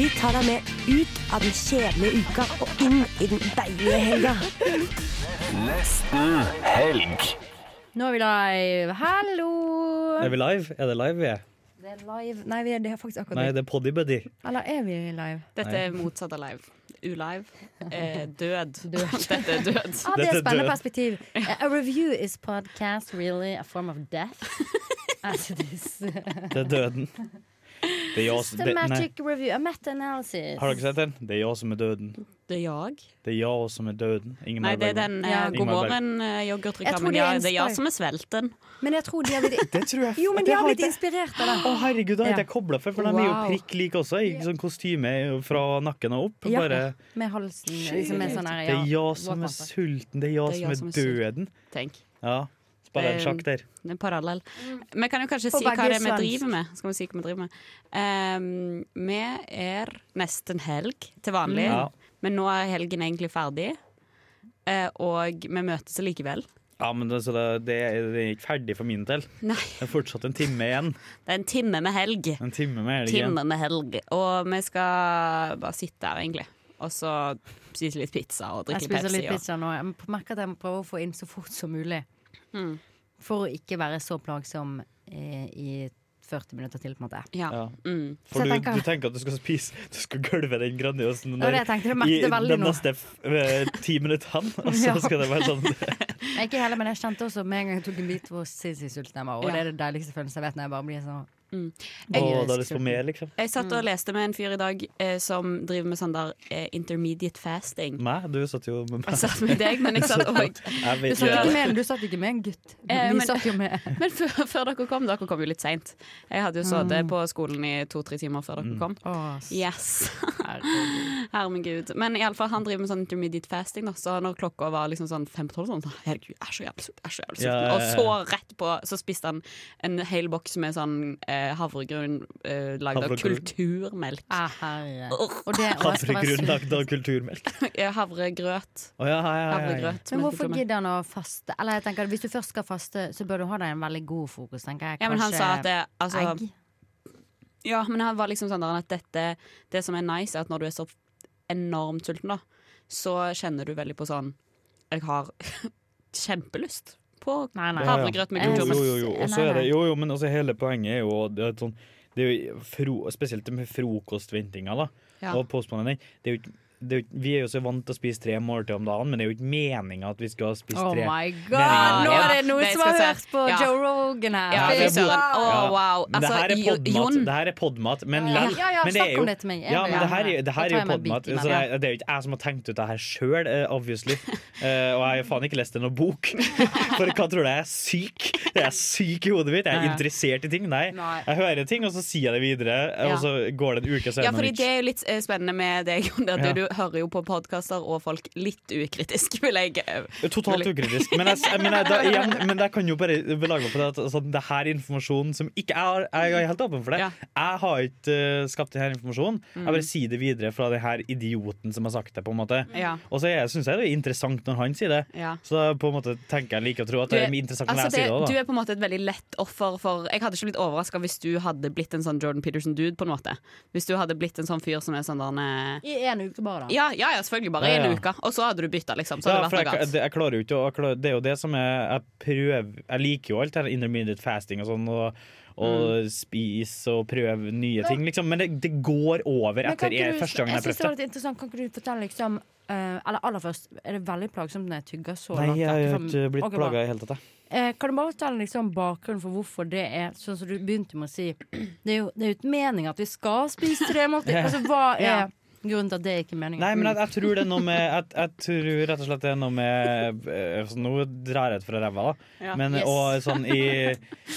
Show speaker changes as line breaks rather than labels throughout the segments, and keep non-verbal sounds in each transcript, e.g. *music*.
Vi tar deg med ut av den kjedelige uka og inn i den deilige helga.
Nesten helg.
Nå er vi live. Hallo!
Er vi live? Er det live vi er?
Det er live. Nei, vi er det faktisk akkurat
Nei, det er poddy-buddy.
Eller er vi live?
Dette er motsatt av live. Ulive. Eh, død. *laughs* død. Dette er død.
Ah, det er et spennende perspektiv. A review is podcast really a form of death? As it is.
det er døden. Det er jeg som
Systematic review, a meta-analysis.
Har dere sett den? Det er jeg som er døden.
Det er jeg.
Det er jeg som er døden. Ingemar
Nei, det er den eh,
Bergman.
God morgen-yoghurtreklamen. Ja, det er jeg som er svelten.
Men jeg tror de har blitt,
Det tror jeg.
jo, men
det
de har
har
blitt
ikke-
inspirert av det.
Å, herregud, det har ikke jeg kobla for, for de er jo
Wow.
prikk like også. I sånn kostyme fra nakken og opp.
Ja,
Bare
med halsen liksom med sånn her
Det er jeg som
våtmarker.
er sulten, det er jeg som er døden.
Tenk. Mm.
Ja. Spiller en
Det-
sjakk der.
Det er en parallell. Vi kan jo kanskje
På
si hva
begge
det er vi
svensk.
driver med. Skal vi si hva vi driver med? Ehm, vi er nesten helg til vanlig,
Ja.
men nå er helgen egentlig ferdig. Eh, og vi møtes likevel.
Ja, men det, så det, det, er, det er ikke ferdig for min del.
Nei.
Det er fortsatt en time igjen.
Det er en time med helg.
En time med helg igjen.
Time med helg. Og vi skal bare sitte her, egentlig. Og så spise litt pizza og
Jeg
drikke litt
spiser
Pepsi.
litt pizza nå. Jeg merker at jeg må prøve å få inn så fort som mulig.
Mm.
For å ikke være så plagsom eh, i 40 minutter til, på en måte.
Og, ja.
Ja.
Så
Mm.
For du,
jeg tenker-
du tenker at du skal spise *laughs* Du skal gølve den grandiosen
Det var det jeg tenkte. Jeg merket det veldig
de
nå.
neste f- eh, ti *laughs* minuttene, og
Ja.
så skal det være *laughs* sånn
Jeg, ikke heller, men jeg kjente også med en gang jeg tok en bit hvor sinnssykt sulten jeg var. Og
Ja.
det er det deiligste følelsen jeg vet når jeg bare blir sånn
Å, da har du lyst på mer, liksom.
Jeg satt
Mm.
og leste med en fyr i dag eh, som driver med sånn der eh, intermediate fasting.
Meg? Du satt jo med meg.
Jeg satt med deg, men jeg satt òg
*laughs* Jeg
Du
vet
satt
ikke.
ikke med, du satt ikke med en gutt. Vi
Eh, men-
satt jo med
Men før, før dere kom, dere kom jo litt seint. Jeg hadde jo
Mm.
sittet på skolen i to-tre timer før dere kom.
Å,
Yes, *laughs*
herregud.
herregud. Men i alle fall, han driver med sånn intermediate fasting, da, så når klokka var liksom sånn fem på tolv, sånn Herregud, jeg er så jævlig sulten, jeg er så jævlig sulten.
Ja, ja, ja.
Og så rett på, så spiste han en hel boks med sånn eh, havregryn eh, lagd av
Havregryn.
kulturmelk. *laughs*
Ah, herre. Og det, og jeg skal være
Havregryn
sulten.
lagd av kulturmelk.
Eh, Havregrøt.
Å, ja, ja, ja, ja, ja.
Havregrøt.
Men
med
hvorfor
kulturmelk.
gidder han å faste? Eller jeg tenker, at Hvis du først skal faste, så bør du ha deg en veldig god fokus, tenker jeg.
Ja, men han sa at det, altså,
egg.
Ja, men han var liksom sånn der at dette, det som er nice, er at når du er så enormt sulten, da, så kjenner du veldig på sånn Jeg har *laughs* kjempelyst på
Nei, nei.
havregrøt med
Ja, ja.
Jo,
kulturmelk.
jo, jo. Og så er det, jo, jo, men altså hele poenget er jo det er et sånn, det er jo fro, Spesielt med frokostventinga da,
Ja.
og postmannen din. Det er jo ikke det er jo, ikke- vi er jo så vant til å spise tre måltider om dagen, men det er jo ikke meninga at vi skal spise
Oh
tre.
my god!
Meningen-
Nå er det
Ja,
noen
det
som har
skal jeg
hørt på
si. Ja.
Joe Rogan her.
Ja, fy
det er
søren. Å,
Ja.
wow.
Men det
Altså,
her er
Jo-
podmat.
Jon
Det her er podmat men
Ja,
lell-
ja, ja,
men det er
snakk
jo,
om det til meg. Jeg
ja,
blir
men det her, er-
gjerne-
det her
jeg
er jo
tar meg en bit
podmat.
i meg.
Så det, er, det er jo ikke jeg som har tenkt ut det her sjøl, obviously. Eh, og jeg har jo faen ikke lest det noen bok. *laughs* For hva tror du, jeg er syk? Jeg er syk i hodet mitt. Jeg er
Ja.
interessert i ting. Nei.
Nei.
Jeg hører ting, og så sier jeg det videre,
Ja.
og så går det en uke, så
Ja,
er det
fordi det
noe nytt.
er jo litt eh, spennende med deg, Jon. at
Ja.
Du hører jo på podkaster og folk litt ukritisk, vil jeg eh,
Totalt
vil jeg-
ukritisk. Men jeg, s- men
*laughs*
jeg, da, igjen, men jeg kan jo bare belage meg på det at sånn, det her er informasjon som ikke Jeg, har, jeg er helt åpen for det.
Ja. Mm.
Jeg har ikke eh, skapt denne informasjonen. Jeg bare sier det videre fra den her idioten som har sagt det. på en måte
Ja.
Og så syns jeg det er interessant når han sier det.
Ja.
Så da på en måte tenker jeg like å tro at
Du
det
er-
er interessant når
altså
jeg sier det
Du
også,
er på en måte et veldig lett offer for Jeg hadde ikke blitt overraska hvis du hadde blitt en sånn Jordan Peterson-dude, på en måte. Hvis du hadde blitt en sånn fyr som er sånn der eh,
I en uke bare, da.
ja, ja, ja, selvfølgelig, bare i
Ja, ja.
en uke. Og så hadde du bytta, liksom. Så
da. Ja,
hadde
for
det vært noe
jeg,
annet.
det, jeg klarer jo ikke å jeg klarer, Det er jo det som jeg, jeg prøver Jeg liker jo alt det her intermediate fasting og sånn, og, og spise og prøve nye ting, liksom. Men det, det går over
Men kan
etter
ikke
jeg,
du-
første gangen jeg
jeg synes det var
prøvde.
litt interessant. Kan ikke du fortelle, liksom eh, Eller aller først, er det veldig plagsomt når jeg tygger så
Nei,
langt?
jeg
vekk
har
fra-
ikke blitt
Ok, bra.
plaga i det hele tatt, jeg.
Eh, kan du bare fortelle liksom bakgrunnen for hvorfor det er sånn som du begynte med å si? Det er jo, det er jo ikke meningen at vi skal spise tre måltider. Altså, hva er
Ja.
Grunnen til at det er ikke meningen.
Nei, men jeg, jeg tror det er noe med Jeg, jeg tror rett og slett det er noe med eh, så Nå drar jeg ut fra ræva, da.
Ja.
Men,
Yes.
Og sånn i,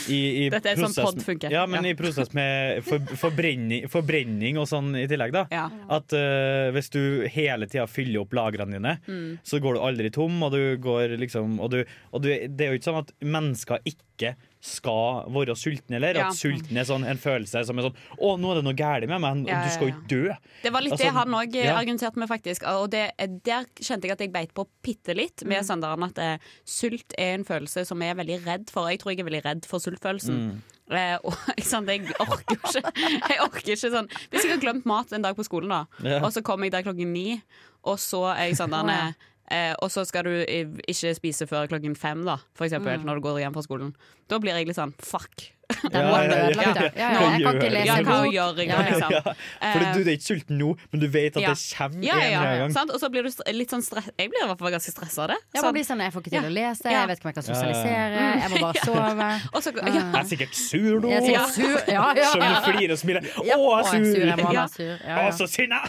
i, i
Dette er sånn podd funker.
Ja, men i
Ja.
prosess med for, forbrenning, forbrenning og sånn i tillegg, da.
Ja.
At eh, hvis du hele tida fyller opp lagrene dine,
Mm.
så går du aldri tom, og du går liksom Og, du, og du, det er jo ikke sånn at mennesker ikke skal være sultne, eller?
Ja.
At sulten er sånn en følelse som er sånn Å, nå er det noe galt med meg,
Ja, ja,
du skal jo
ja.
dø.
Det var litt
Altså,
det han òg
ja.
argumenterte med, faktisk. Og det, eh, der kjente jeg at jeg beit på bitte litt med Sanderen. At eh, sult er en følelse som jeg er veldig redd for. Jeg tror jeg er veldig redd for sultfølelsen.
Mm.
Eh, og, *laughs* ikke sant? Jeg orker jo ikke Jeg orker ikke sånn Hvis jeg har glemt mat en dag på skolen, da,
Ja.
og så kommer jeg der klokken ni, og så er jeg sånn der eh, Og så skal du i- ikke spise før klokken fem, da, for eksempel,
Mm.
når du går hjem fra skolen. Da blir jeg litt sånn fuck.
Ja, ja, ja, ja, ja.
Nå-
Hva gjør jeg?
Ja, hva gjør jeg, nå,
*laughs*
liksom?
Fordi du, du er ikke sulten nå, men du vet at
Ja.
det kommer
Ja, ja, ja.
en eller annen gang.
Sant? Og så blir du st- litt sånn stress Jeg blir i hvert fall ganske stressa av det.
Ja,
Sånn.
man blir sånn, Jeg får ikke til
Ja.
å lese,
Ja.
jeg vet ikke om jeg kan
Ja, ja, ja.
sosialisere,
Mm.
jeg må bare
Ja.
sove.
Og så- *laughs* ja.
Mm.
Jeg er sikkert sur nå!
Jeg er sikkert sur, ja, ja.
Som du flirer og smiler. Å, jeg
å,
er
jeg er
sur!
sur, jeg må være
Ja.
sur. Ja,
Å,
ja.
så sinna!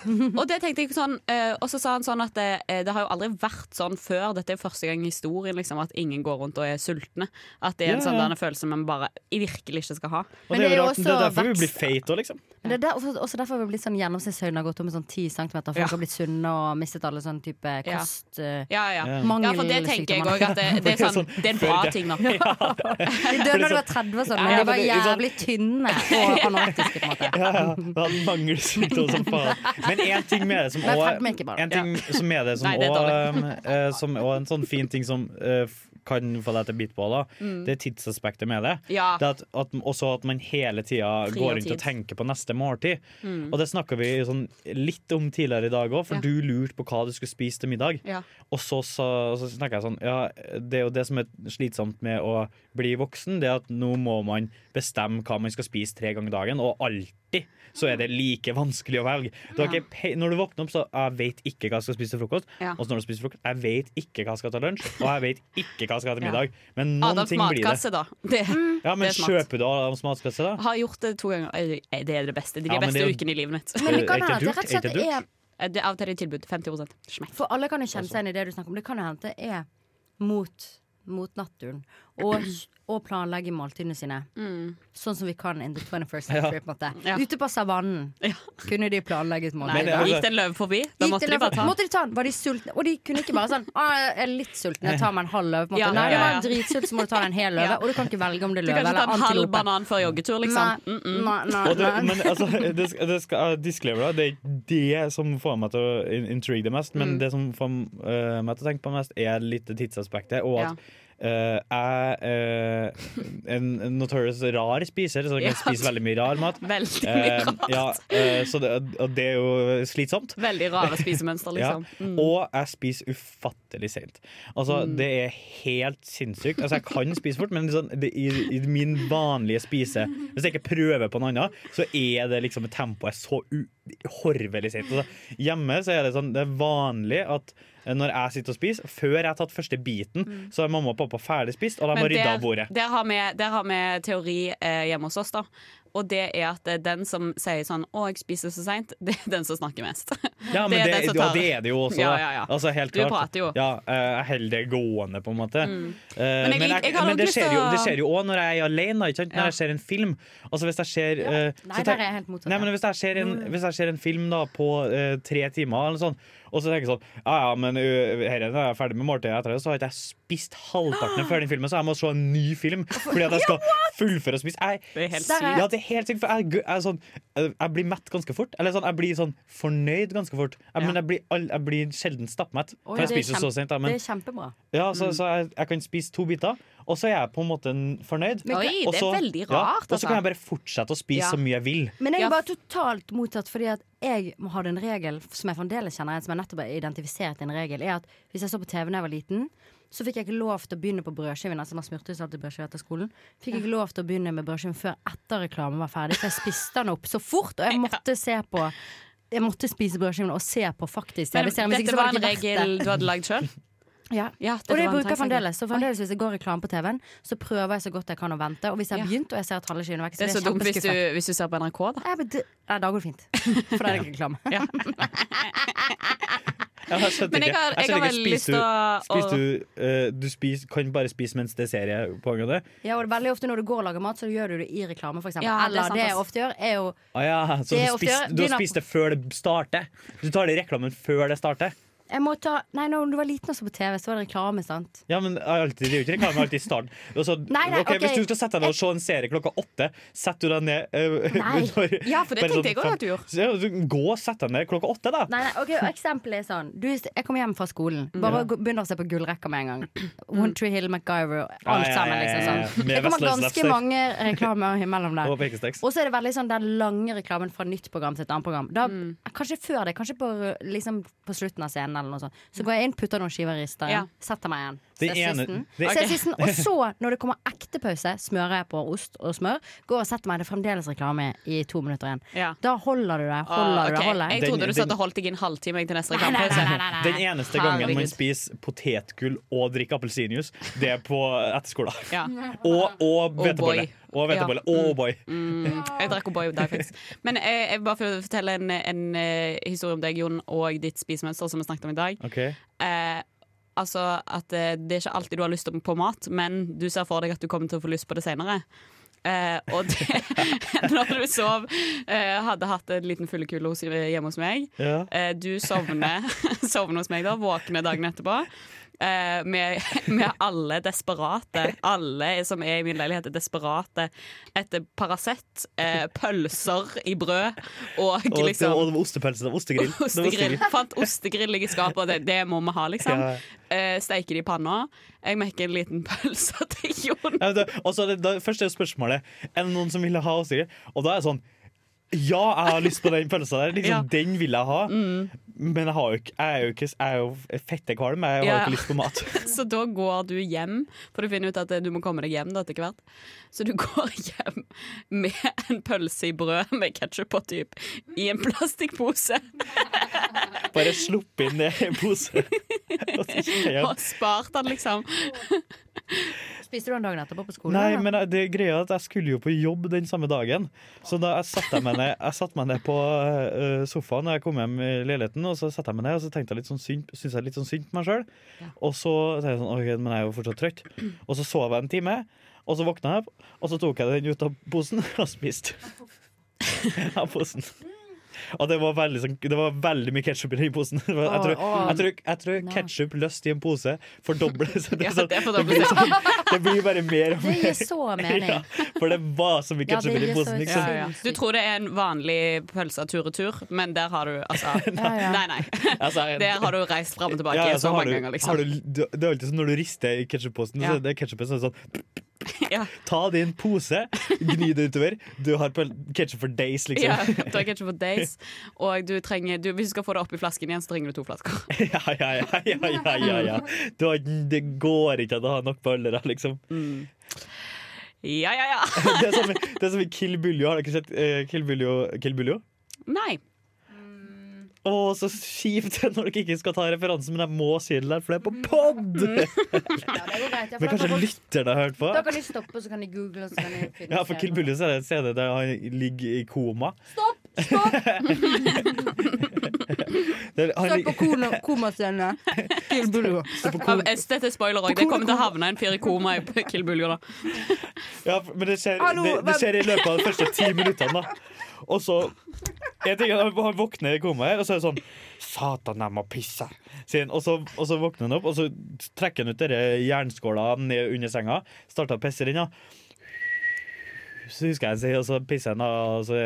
Og det tenkte jeg sånn eh, Og så sa han sånn at eh, det har jo aldri vært sånn før. Dette er jo første gang i historien liksom, at ingen går rundt og er sultne. At det er en
Ja,
sånn
ja.
denne følelse man bare virkelig ikke skal ha.
Og det er jo rart, det er derfor vi blir feite òg, liksom.
Men det er der, også, også derfor har vi blitt sånn gjennomsnittshøyden har gått opp med sånn 10 cm. Folk
Ja.
har blitt sunne og mistet alle sånn type
Ja.
kost... eh,
ja, ja. ja,
Mangel-
for det tenker jeg
sykdommer.
òg at
*laughs*
det, det, er sånn, det er en bra
Følge.
ting nå.
De døde når de var 30 og sånn, men
Ja,
de var
men det er sånn-
jævlig tynne og anorektiske på en måte.
Ja, ja. Han mangler sykdom som faen. Men én ting med det som
Men
også-
fett merke bare.
en ting som er det som
Nei, det er
også, eh, som også en sånn fin ting som eh, f- kan få deg til å bite på, da.
Mm.
det er tidsaspektet med det.
Ja.
det at, at, også at man hele tida
Fri og
går rundt
tid.
og tenker på neste måltid.
Mm.
Og det snakka vi sånn, litt om tidligere i dag òg, for
Ja.
du lurte på hva du skulle spise til middag.
Ja.
Og så, så, så snakka jeg sånn Ja, det er jo det som er slitsomt med å bli voksen, det er at nå må man bestemme hva man skal spise tre ganger dagen, og alltid så er det like vanskelig å velge. Du har
Ja.
ikke pe når du våkner opp, så jeg vet ikke hva jeg skal spise til frokost.
Ja.
Og så når du spiser frokost, jeg vet ikke hva jeg skal ta lunsj, og jeg vet ikke hva jeg skal ha til
Ja.
middag. Men noen
Adams
ting blir det.
matkasse, da. Det,
Mm.
Ja, men
det er smart.
kjøper du Adams matkasse, da?
*laughs* Har gjort det to ganger. Eh, Det er det beste. Det er de
Ja, men
beste
det er jo-
ukene i livet
*laughs*
mitt.
Men det kan
Er ikke
hende at det
dyrt?
rett og
Er
slett
ikke dyrt?
er
Eh, Det er av og til et tilbud. 50 Smekk.
For alle kan jo kjenne seg inn i det du snakker om. Det kan jo hende det er mot, mot naturen. Og, og planlegge måltidene sine.
Mm.
Sånn som vi kan in the 21st century. på en måte Ute på savannen kunne de planlegget
Nei,
måltider.
da
altså
gikk det en løve forbi. Da
Gikk
måtte
det
de
løv-
bare ta
måtte de ta den. Var de sultne? Og de kunne ikke bare sånn «Å, Jeg er litt sulten, jeg tar meg en halv løve. på en måte.
Ja,
Nei,
ja,
du var
ja.
en dritsult, så må du ta deg en hel løve. Og du kan ikke velge om det er
Du
løve
kan ikke
eller
ta en halv
antilope.
banan før joggetur, liksom.
Nei,
Mm -mm.
nei, nei,
Og det,
nei.
men altså, det skal, det skal, jeg disclaimer da, det er ikke det som får meg til å in- intrigue det mest, men
Mm.
det som får eh, meg til å tenke på mest, er litt det tidsaspektet. Og at eh, jeg er en en notorious rar spiser, så jeg
Ja.
kan spise veldig mye
*laughs*
rar mat.
Mm, Veldig
Eh,
mye rart.
ja, eh, så det, og det er jo slitsomt.
Veldig rare spisemønster,
*laughs*
liksom.
Ja.
Mm.
Og jeg spiser ufattelig seint. Altså, Det er helt sinnssykt. Altså, Jeg kan spise fort, men sånn, det, i, i min vanlige spise Hvis jeg ikke prøver på noe annet, så er det liksom tempoet så uhorvelig seint. Altså, hjemme så er det sånn, det er vanlig at eh, når jeg sitter og spiser, før jeg har tatt første biten, så er mamma og pappa ferdig spist, og de
Mm. Men
har rydda
der,
av bordet.
der, har vi, der har vi teori eh, hjemme hos oss, da. Og det er at eh, den som sier sånn 'Å, jeg spiser så seint', *laughs* det er den som snakker mest.
Ja, men
er
det,
den som
og
tar-
det er det jo også.
Ja,
da.
ja, ja.
Altså, helt
Du
klart.
prater jo.
Ja, eh, jeg holder det gående, på en måte. Eh,
Mm. Men jeg-
Men, jeg,
jeg har nok
men det,
lyst
skjer jo,
til å-
det skjer jo òg når jeg er alene, da, ikke sant?
Ja.
når jeg ser en film. Altså Hvis jeg ser
Nei,
eh,
der
så tenk-
er jeg helt motsatt.
Nei, men hvis jeg ser en,
Mm.
hvis jeg ser en film da på eh, tre timer, eller sånn, og så tenker jeg sånn Ja ja, men uh, her er det, jeg er ferdig med måltidet etter det, så har ikke jeg spist halvparten før den filmen, så jeg må se en
*laughs*
ny film fordi at jeg skal fullføre å spise. Jeg,
Det er helt
Der
sykt.
Ja, det er helt sykt. For jeg, jeg, er sånn, eh, jeg blir mett ganske fort. Eller sånn, jeg blir sånn fornøyd ganske fort. Jeg, Men jeg blir, all, jeg blir sjelden stappmett.
Oi,
For jeg
det er Mm.
spiser så
kjempe-
sent, da. Men,
Det er kjempebra.
ja, så, så jeg, jeg kan spise to biter, og så er jeg på en måte en fornøyd.
Men- Oi, det er
Og så-
veldig
Ja,
rart,
og så
altså.
kan jeg bare fortsette å spise
Ja.
så mye jeg vil.
Men jeg er bare totalt motsatt, fordi at jeg hadde en regel som jeg fremdeles kjenner igjen, som jeg nettopp har identifisert en regel, er at hvis jeg så på TV da jeg var liten, så fikk jeg ikke lov til å begynne på brødskiven. Altså man smurte jo salt i brødskive etter skolen. Fikk jeg ikke lov til å begynne med brødskiven før etter reklamen var ferdig, for jeg spiste den opp så fort, og
*laughs*
jeg måtte se på jeg måtte spise brødskiven og se på faktisk
Men
TV-serien. hvis ikke
dette
så var
var
det
en
ikke verdt det.
regel du hadde lagd sjøl?
Ja. og det bruker jeg fremdeles. Så fremdeles hvis det går reklame på TV-en, så prøver jeg så godt jeg kan å vente. Og hvis jeg har begynt og jeg ser at halve skyen er vekk,
Det er så dumt hvis du, hvis du ser på NRK, da.
Ja, men det- Nei, da går det fint. *laughs* For da er det ikke reklame.
Ja, jeg skjønte
Men jeg
ikke.
har- jeg
skjønte
har
ikke.
veldig lyst
Spiser du,
til å-
spiser du, eh, du spiser, kan bare spise mens det er serie på en gang? det?
Ja, og det er veldig ofte når du går og lager mat, så gjør du det i reklame, for eksempel.
Ja, det er
Eller
sant,
det jeg
ass.
ofte gjør, er jo
Ah, ja,
Det
så du,
er ofte
spist,
gjør-
du har
begynner-
spist det før det starter? Du tar det i reklamen før det starter?
Jeg må ta Nei, når du var liten og så på TV, så var det reklame, sant?
Ja, men jeg har alltid, Det er jo ikke reklame, alltid i starten. Og så-
Nei, nei,
ok,
ok.
Hvis du skal sette deg ned og se en serie klokka åtte, setter du deg ned eh,
Nei.
*laughs* når-
Ja, for det
bare sånn
tenkte jeg også
fem-
at du gjorde.
Så, ja, du- Gå og sett deg ned klokka åtte, da.
Nei, nei, ok, Eksempelet er sånn. Du, jeg kommer hjem fra skolen.
Mm.
Bare gå- begynner å se på gullrekka med en gang. One Tree Hill, MacGyver, alt
Ja, ja,
sammen.
ja, ja,
liksom
ja, ja.
sånn
Med
Det kommer
Vestløs
ganske
Lefse.
mange reklamer imellom der.
Og pekestekst.
Og så er det veldig sånn den lange reklamen fra nytt program til et annet program. Da, Kanskje før det, kanskje på, liksom, på slutten av scenen eller noe sånt. Så går jeg inn, putter noen skiver i risteren,
Ja.
setter meg igjen.
Det
Ser
ene-
sisten.
det-
Ser
Ok.
sisten. Og så, når det kommer ekte pause, smører jeg på ost og smør. Går og setter meg, det er fremdeles reklame i to minutter igjen.
Ja.
Da holder du deg, holder
Ah,
du deg,
ok.
holder deg.
Jeg
Den-
trodde du
den-
satt og holdt deg i en halvtime jeg, til neste
Nei, nei,
reklame.
nei, nei, nei, nei.
Den eneste gangen man
Herregud.
spiser potetgull og drikker appelsinjuice, det er på etterskolen.
Ja.
Og, og
Oh boy.
hvetebolle. Og hvetebolle. Å, boy.
Mm, *laughs* jeg drakk O'boy i dag, faktisk. Men eh, jeg vil bare få fortelle en, en eh, historie om deg, Jon, og ditt spisemønster, som vi snakket om i dag.
Ok.
Eh, altså at eh, det er ikke alltid du har lyst på mat, men du ser for deg at du kommer til å få lyst på det senere. Eh, og det, *laughs* når du sov, eh, hadde hatt en liten fyllekule hos- hjemme hos meg.
Ja.
Eh, du sovner, *laughs* sovner hos meg da, våkner dagen etterpå. eh, med, med alle desperate. Alle som er i min leilighet, er desperate etter Paracet, eh, pølser i brød
Og,
og liksom
og det var ostepølse. det var Ostegrill. Det var
Ostegrill. Fant ostegrill ligger i skapet, og det, det må vi ha, liksom.
Ja.
Eh, steiker det i panna. Jeg mekker en liten pølse til Jon.
Ja, men det- Og så er det, da, først er jo spørsmålet Er det noen som vil ha ostehjul. Og da er jeg sånn Ja, jeg har lyst på den pølsa der. Liksom,
Ja. Mm.
Den vil jeg ha. Men jeg, har jo ikke, jeg er jo ikke Jeg er jo fette kvalm. Jeg har
Ja.
jo ikke lyst på mat.
*laughs* Så da går du hjem, for du finner ut at eh, du må komme deg hjem da etter hvert. Så du *laughs* går hjem med en pølse i brød med ketsjup på, typ, i en plastikkpose.
Bare slupp inn det i en
*laughs*
pose. Og så kjenner jeg-
Og spart den, liksom.
Spiste du den dagen etterpå på skolen?
Nei,
eller?
men jeg- det greia er at jeg skulle jo på jobb den samme dagen. Så da jeg satte meg ned, jeg satte meg ned på øh, sofaen da jeg kom hjem i leiligheten, og så satte jeg meg ned og så tenkte jeg litt sånn synd, syntes jeg litt sånn synd på meg sjøl. Og så tenkte jeg sånn, ok, men jeg er jo fortsatt trøtt. Og så sov jeg en time, og så våkna jeg, opp, og så tok jeg den ut av posen *laughs* og spiste. Av posen. Og det var veldig, sånn, det var veldig mye ketsjup i den posen. *laughs* Jeg tror,
Åh, åh.
jeg tror, jeg tror ketsjup løst i en pose fordobles. *laughs* *laughs* Det, er
Ja,
sånn- det,
det fordobler
blir
seg.
sånn, det blir bare mer og
Det
mer.
gir så
*laughs*
mening.
Ja, for det var så mye
Ja, det
ketsjup i
gir så-
posen. Liksom.
Ja, ja. Du tror det er en vanlig pølse tur-retur, men der har du altså
*laughs*
Nei, nei.
Altså, jeg-
Der har du reist fram og tilbake
Ja, ja,
så,
så har
mange
du-
ganger,
har
liksom.
du,
*laughs*
det det er alltid sånn når du rister i ketsjupposen,
Ja.
så er det ketchupen som er sånn
Ja.
Ta det i en pose, gni det utover. Du har ketsjup for days, liksom.
Ja, du har ketchup for days, og du trenger du, Hvis du skal få det oppi flasken igjen, så trenger du to flasker.
*laughs* *laughs* Ja, ja, ja, ja, ja, ja, ja. Du har, det går ikke an å ha nok bøller, liksom.
Mm. Ja, ja, ja.
*laughs* Det er som, det er som i Kill Buljo. Har dere sett eh, Kill Buljo? Kill Buljo?
Nei.
Å, så kjipt *laughs* når dere ikke skal ta referansen, men jeg må si det der, for det
Mm.
er på pod!
Ja, det går greit. Ja, for
Men
da kan
kanskje
folk-
lytterne har hørt på?
Da kan de stoppe, så kan de google. og Så kan de finne
Ja, for Kill Buljo så er det en scene der han ligger i koma. *laughs* Der, han
Søk på
ligger-
kono- komascene. Kill Buljo.
Ja, men, eh, Dette er spoiler òg. Det kommer til å havne en fyr i koma i *laughs* Kill Buljo, da.
ja, men det skjer,
Hallo,
det, det
hvem-
skjer i løpet av de første ti minuttene, da. Og så jeg tenker, Han han våkner i koma her, og så er det sånn Satan, jeg må pisse! Sier han. Og, så, og så våkner han opp, og så trekker han ut denne jernskåla ned under senga. Starter å pisse i den, ja. Så husker jeg han sier, og så pisser han, og så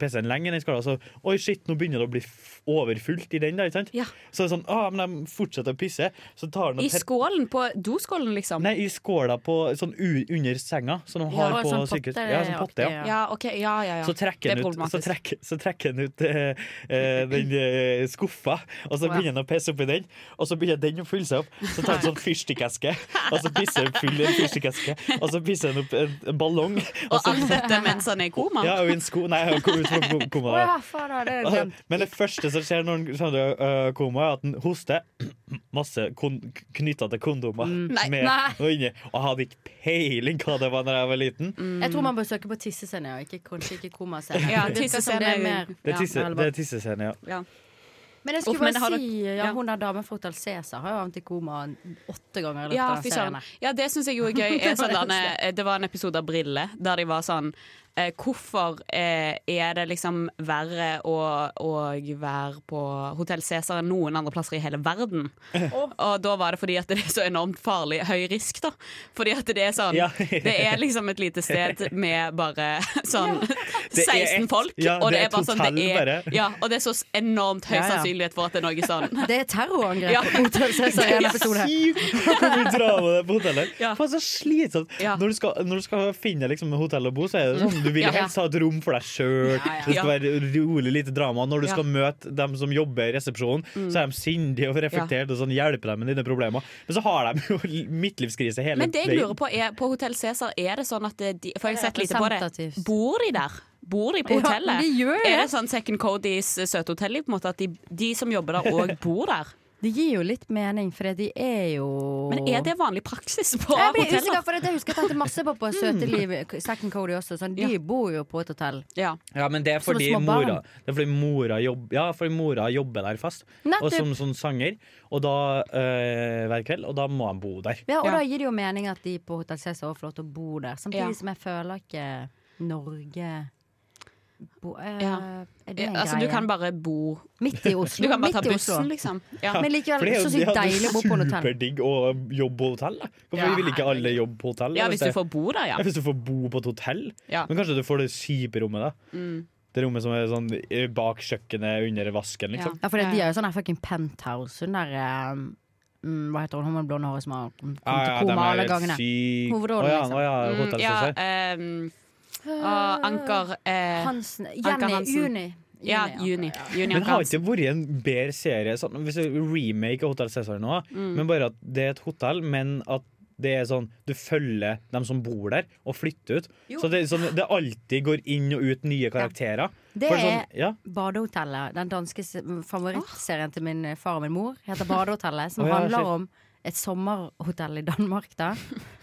pisser han lenge i den skåla. og Så, Oi, shit, nå begynner det å bli f- overfullt i den, da. ikke sant?
Ja.
Så er det sånn, ah, men de fortsetter å pisse. Så tar han
I
og pet-
skålen? På doskålen, liksom?
Nei, i skåla på, sånn u under senga, som de har
Ja,
på
sånn
sykehus.
potte-
Ja, sånn potte, ja.
Ja, OK. Ja, ja, ja.
Så trekker
Det er
han ut, så
problematisk.
trekker, så trekker han ut eh, eh, den eh, skuffa, og så
Å, ja.
begynner han å pisse oppi den. Og så begynner den å fylle seg opp. Så tar han sånn fyrstikkeske, og så pisser han full i en fyrstikkeske. Og så pisser han opp en, en ballong. Og
Og
så,
alt dette mens han er i koma?
ja, og i en sko Nei, han kom ut fra kom- koma.
Å
da.
ja, faen, det er glemt.
eh, Men det første som skjer når han kommer, er at han hoster. *clears throat* masse kon knytta til kondomer.
Mm. Nei.
Med,
Nei.
Og, inni, og jeg hadde ikke peiling hva det var Når jeg var liten.
Jeg tror man bør søke på tissescene, og ikke, kanskje ikke komascene.
Ja,
Det virker som
tissescene
det er
er jo-
mer-
Det er, tisse,
ja, eller
det
bare-
er tissescene, ja.
Ja.
Men jeg skulle
Uff, men det
bare
har dere-
si ja,
ja.
Hun der damen fra Hotel Cæsar har jo havnet i koma åtte ganger i løpet
Ja,
av
fy søren.
serien.
Ja, det syns jeg jo er gøy.
*laughs* Det
Er
var
sånn
det
derne,
eneste.
eh, det var en episode av Brille der de var sånn eh, Hvorfor eh, er det liksom verre å, å være på Hotell Cæsar enn noen andre plasser i hele verden?
*laughs*
Og da var det fordi at det er så enormt farlig høy risk, da. Fordi at det er sånn
Ja.
Det er liksom et lite sted med bare
*laughs*
sånn *laughs*
Det er
16
et-
folk,
ja,
og
det
det
er
er bare
et
sånn det
hotell
er,
bare.
ja, Og det er så s- enormt høy
Ja, ja.
sannsynlighet for at det er noe
*laughs*
sånn
Det er terrorangrep
Ja.
*laughs* på Hotel Cæsar i en episode.
Hvor mye drama det er på hotellet.
Ja.
Faen, så slitsomt.
Ja.
Når, du skal, når du skal finne liksom, hotell å bo, så er det sånn du vil
Ja.
helst ha et rom for deg sjøl.
Ja, ja.
Det skal være rolig, lite drama. Når du
Ja. Mm.
skal møte dem som jobber i resepsjonen, så er de sindige og reflekterte og sånn, hjelper dem med dine problemer. Men så har de jo *laughs* midtlivskrise hele
Men det jeg
veien.
lurer på er På Hotell Cæsar, er det sånn at de For jeg
Det
har
er
sett lite på det.
representativt.
Bor de der? Bor de på
Ja,
hotellet?
de gjør
Er det
det.
sånn Second Codys eh, søte hotell, i på en måte, at de, de som jobber der,
*laughs*
òg bor der?
Det gir jo litt mening, for de er jo
Men er det vanlig praksis på
Jeg blir usikker,
hoteller?
for jeg husker jeg tenkte masse på på Søte liv, Second Cody også. Sånn, de bor jo på et hotell.
Ja.
Ja, men det er
Som
fordi
små barn.
mora, det er fordi mora, jobb, ja, fordi mora jobber der fast, og
Nettopp.
som, som sanger, og da, eh, hver kveld, og da må han bo der.
Ja, og
Ja.
da gir det jo mening at de på Hotell Cæsar også får lov til å bo der. Samtidig
Ja.
som jeg føler ikke Norge bo, eh,
Ja.
Er det
Ja,
en
altså, du
greie?
kan bare bo
Midt i
*laughs* Du
Oslo.
kan bare ta
midt i Oslo.
bussen, liksom. Ja.
Men likevel,
For det er jo-
så sykt
det er jo
deilig å bo på en hotell.
Superdigg å jobbe på hotell. da. Hvorfor
Ja,
vil ikke alle jobbe på hotell? da,
ja, hvis du
det-
får bo der, ja.
Ja, hvis du får bo på et hotell.
Ja.
Men kanskje du får det kjipe rommet, da.
Mm.
Det rommet som er sånn eh, bak kjøkkenet, under vasken, liksom.
Ja, for det, de er jo sånn her fucking penthouse. Hun der eh, mm, Hva heter hun? Hun med blonde håret som har kommet
Ja, Ah, ja,
til
de
koma
er
alle
helt
gangene.
syke.
Hovedrollen,
Å ja,
liksom.
å ja,
Mm,
hotell
ja
Cæsar.
ehm, og Anker eh,
Hansen.
Anker
Jenny.
Hansen.
Juni. Juni,
Ja,
Anker,
Juni.
ja.
Juni
Men
Anker
har
Hansen.
ikke det vært en bedre serie sånn, Hvis du remake av Hotell Cæsar nå,
Mm.
men bare at det er et hotell, men at det er sånn, Du følger dem som bor der, og flytter ut. Så det, sånn, det alltid går inn og ut nye karakterer.
Det
For sånn,
er-
ja.
Badehotellet. Den danske se- favorittserien til min eh, far og min mor heter Badehotellet. Som
Å, ja, shit.
handler om et sommerhotell i Danmark, da.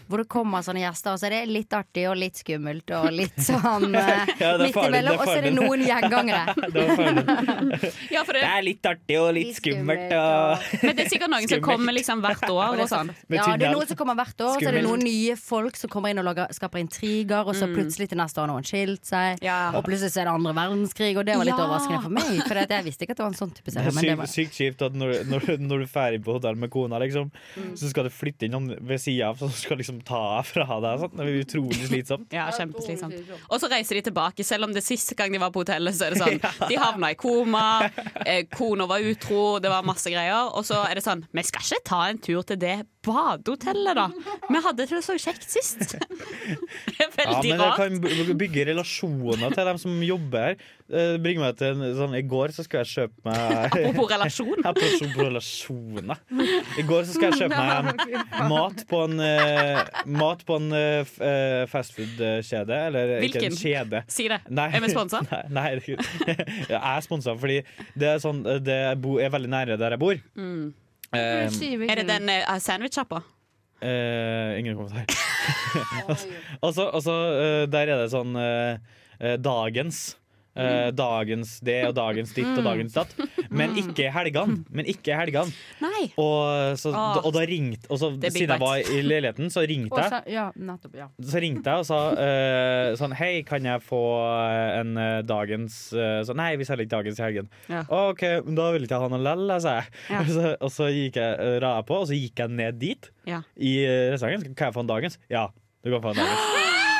Hvor det kommer sånne gjester, og så er det litt artig og litt skummelt og litt
*laughs*
sånn eh,
Ja, det
midt
er farlig, det er
imellom. Og så er det
farlig.
noen gjengangere.
*laughs* Det, var farlig.
Ja, for det,
det er litt artig og litt
Litt skummelt,
skummelt. Og...
men det er sikkert noen
Skummelt.
som kommer liksom hvert år og sånn.
*laughs* Med
Ja, det er
tunnel.
noen som kommer hvert år, så er det
Skummelt. Mm.
noen nye folk som kommer inn og lager, skaper intriger, og så plutselig til neste år har noen skilt seg,
Ja.
og plutselig så er det andre verdenskrig, og det var litt
Ja.
overraskende for meg, for at jeg visste ikke at det var en sånn type
Det
serie.
er
Men det
sykt,
var
sykt kjipt at når, når, når du er ferdig på hotell med kona, liksom,
Mm.
så skal du flytte inn noen ved sida av som skal liksom ta fra deg. Sånn. Det blir utrolig slitsomt.
Ja, kjempeslitsomt. Og så reiser de tilbake, selv om det siste gang de var på hotellet, så er det *laughs* sånn De havna i koma, eh, kona var utro, det var masse greier. Og så er det sånn Vi skal ikke ta en tur til det badehotellet, da. Vi hadde det så kjekt sist. *laughs* Det er
Ja,
veldig
men det
rart.
kan by- bygge relasjoner til dem som jobber her. Eh, Det bringer meg til en, sånn, I går så skal jeg kjøpe meg
Apropos
*laughs*
relasjon.
Apropos relasjoner. I går så skal jeg kjøpe meg mat på en, eh, mat på en eh, f- eh, fastfood-kjede. Eller ikke
Hvilken?
en kjede.
Si det.
Nei.
Er vi sponsa?
*laughs* Nei, nei det er ikke- *laughs* jeg er sponsa fordi det er, sånn, det er, bo, er veldig nære der jeg bor.
Mm.
Eh,
Er det den eh, sandwich-sjappa?
Eh, ingen kommentar.
*laughs*
*laughs* altså, altså eh, der er det sånn eh, eh, dagens.
Mm.
Eh, dagens det og dagens ditt og dagens datt. Men ikke i helgene. Men ikke i helgene.
Nei.
Og, så,
Åh.
og da ringte Og så,
Det er big
siden jeg var
bites.
i leiligheten, så ringte jeg.
ja, nettopp, ja.
Så ringte jeg og sa eh, sånn Hei, kan jeg få en eh, dagens eh, Sånn, nei, vi selger ikke dagens i helgen.
Ja.
«Å, OK, men da vil ikke jeg ha noe lell, jeg, sa jeg.
Ja.
Og, *laughs* så, og så gikk jeg eh, ra jeg på, og så gikk jeg ned dit
Ja.
i eh, restauranten. Kan jeg få en dagens? Ja, du kan få en
*gasps*
dagens.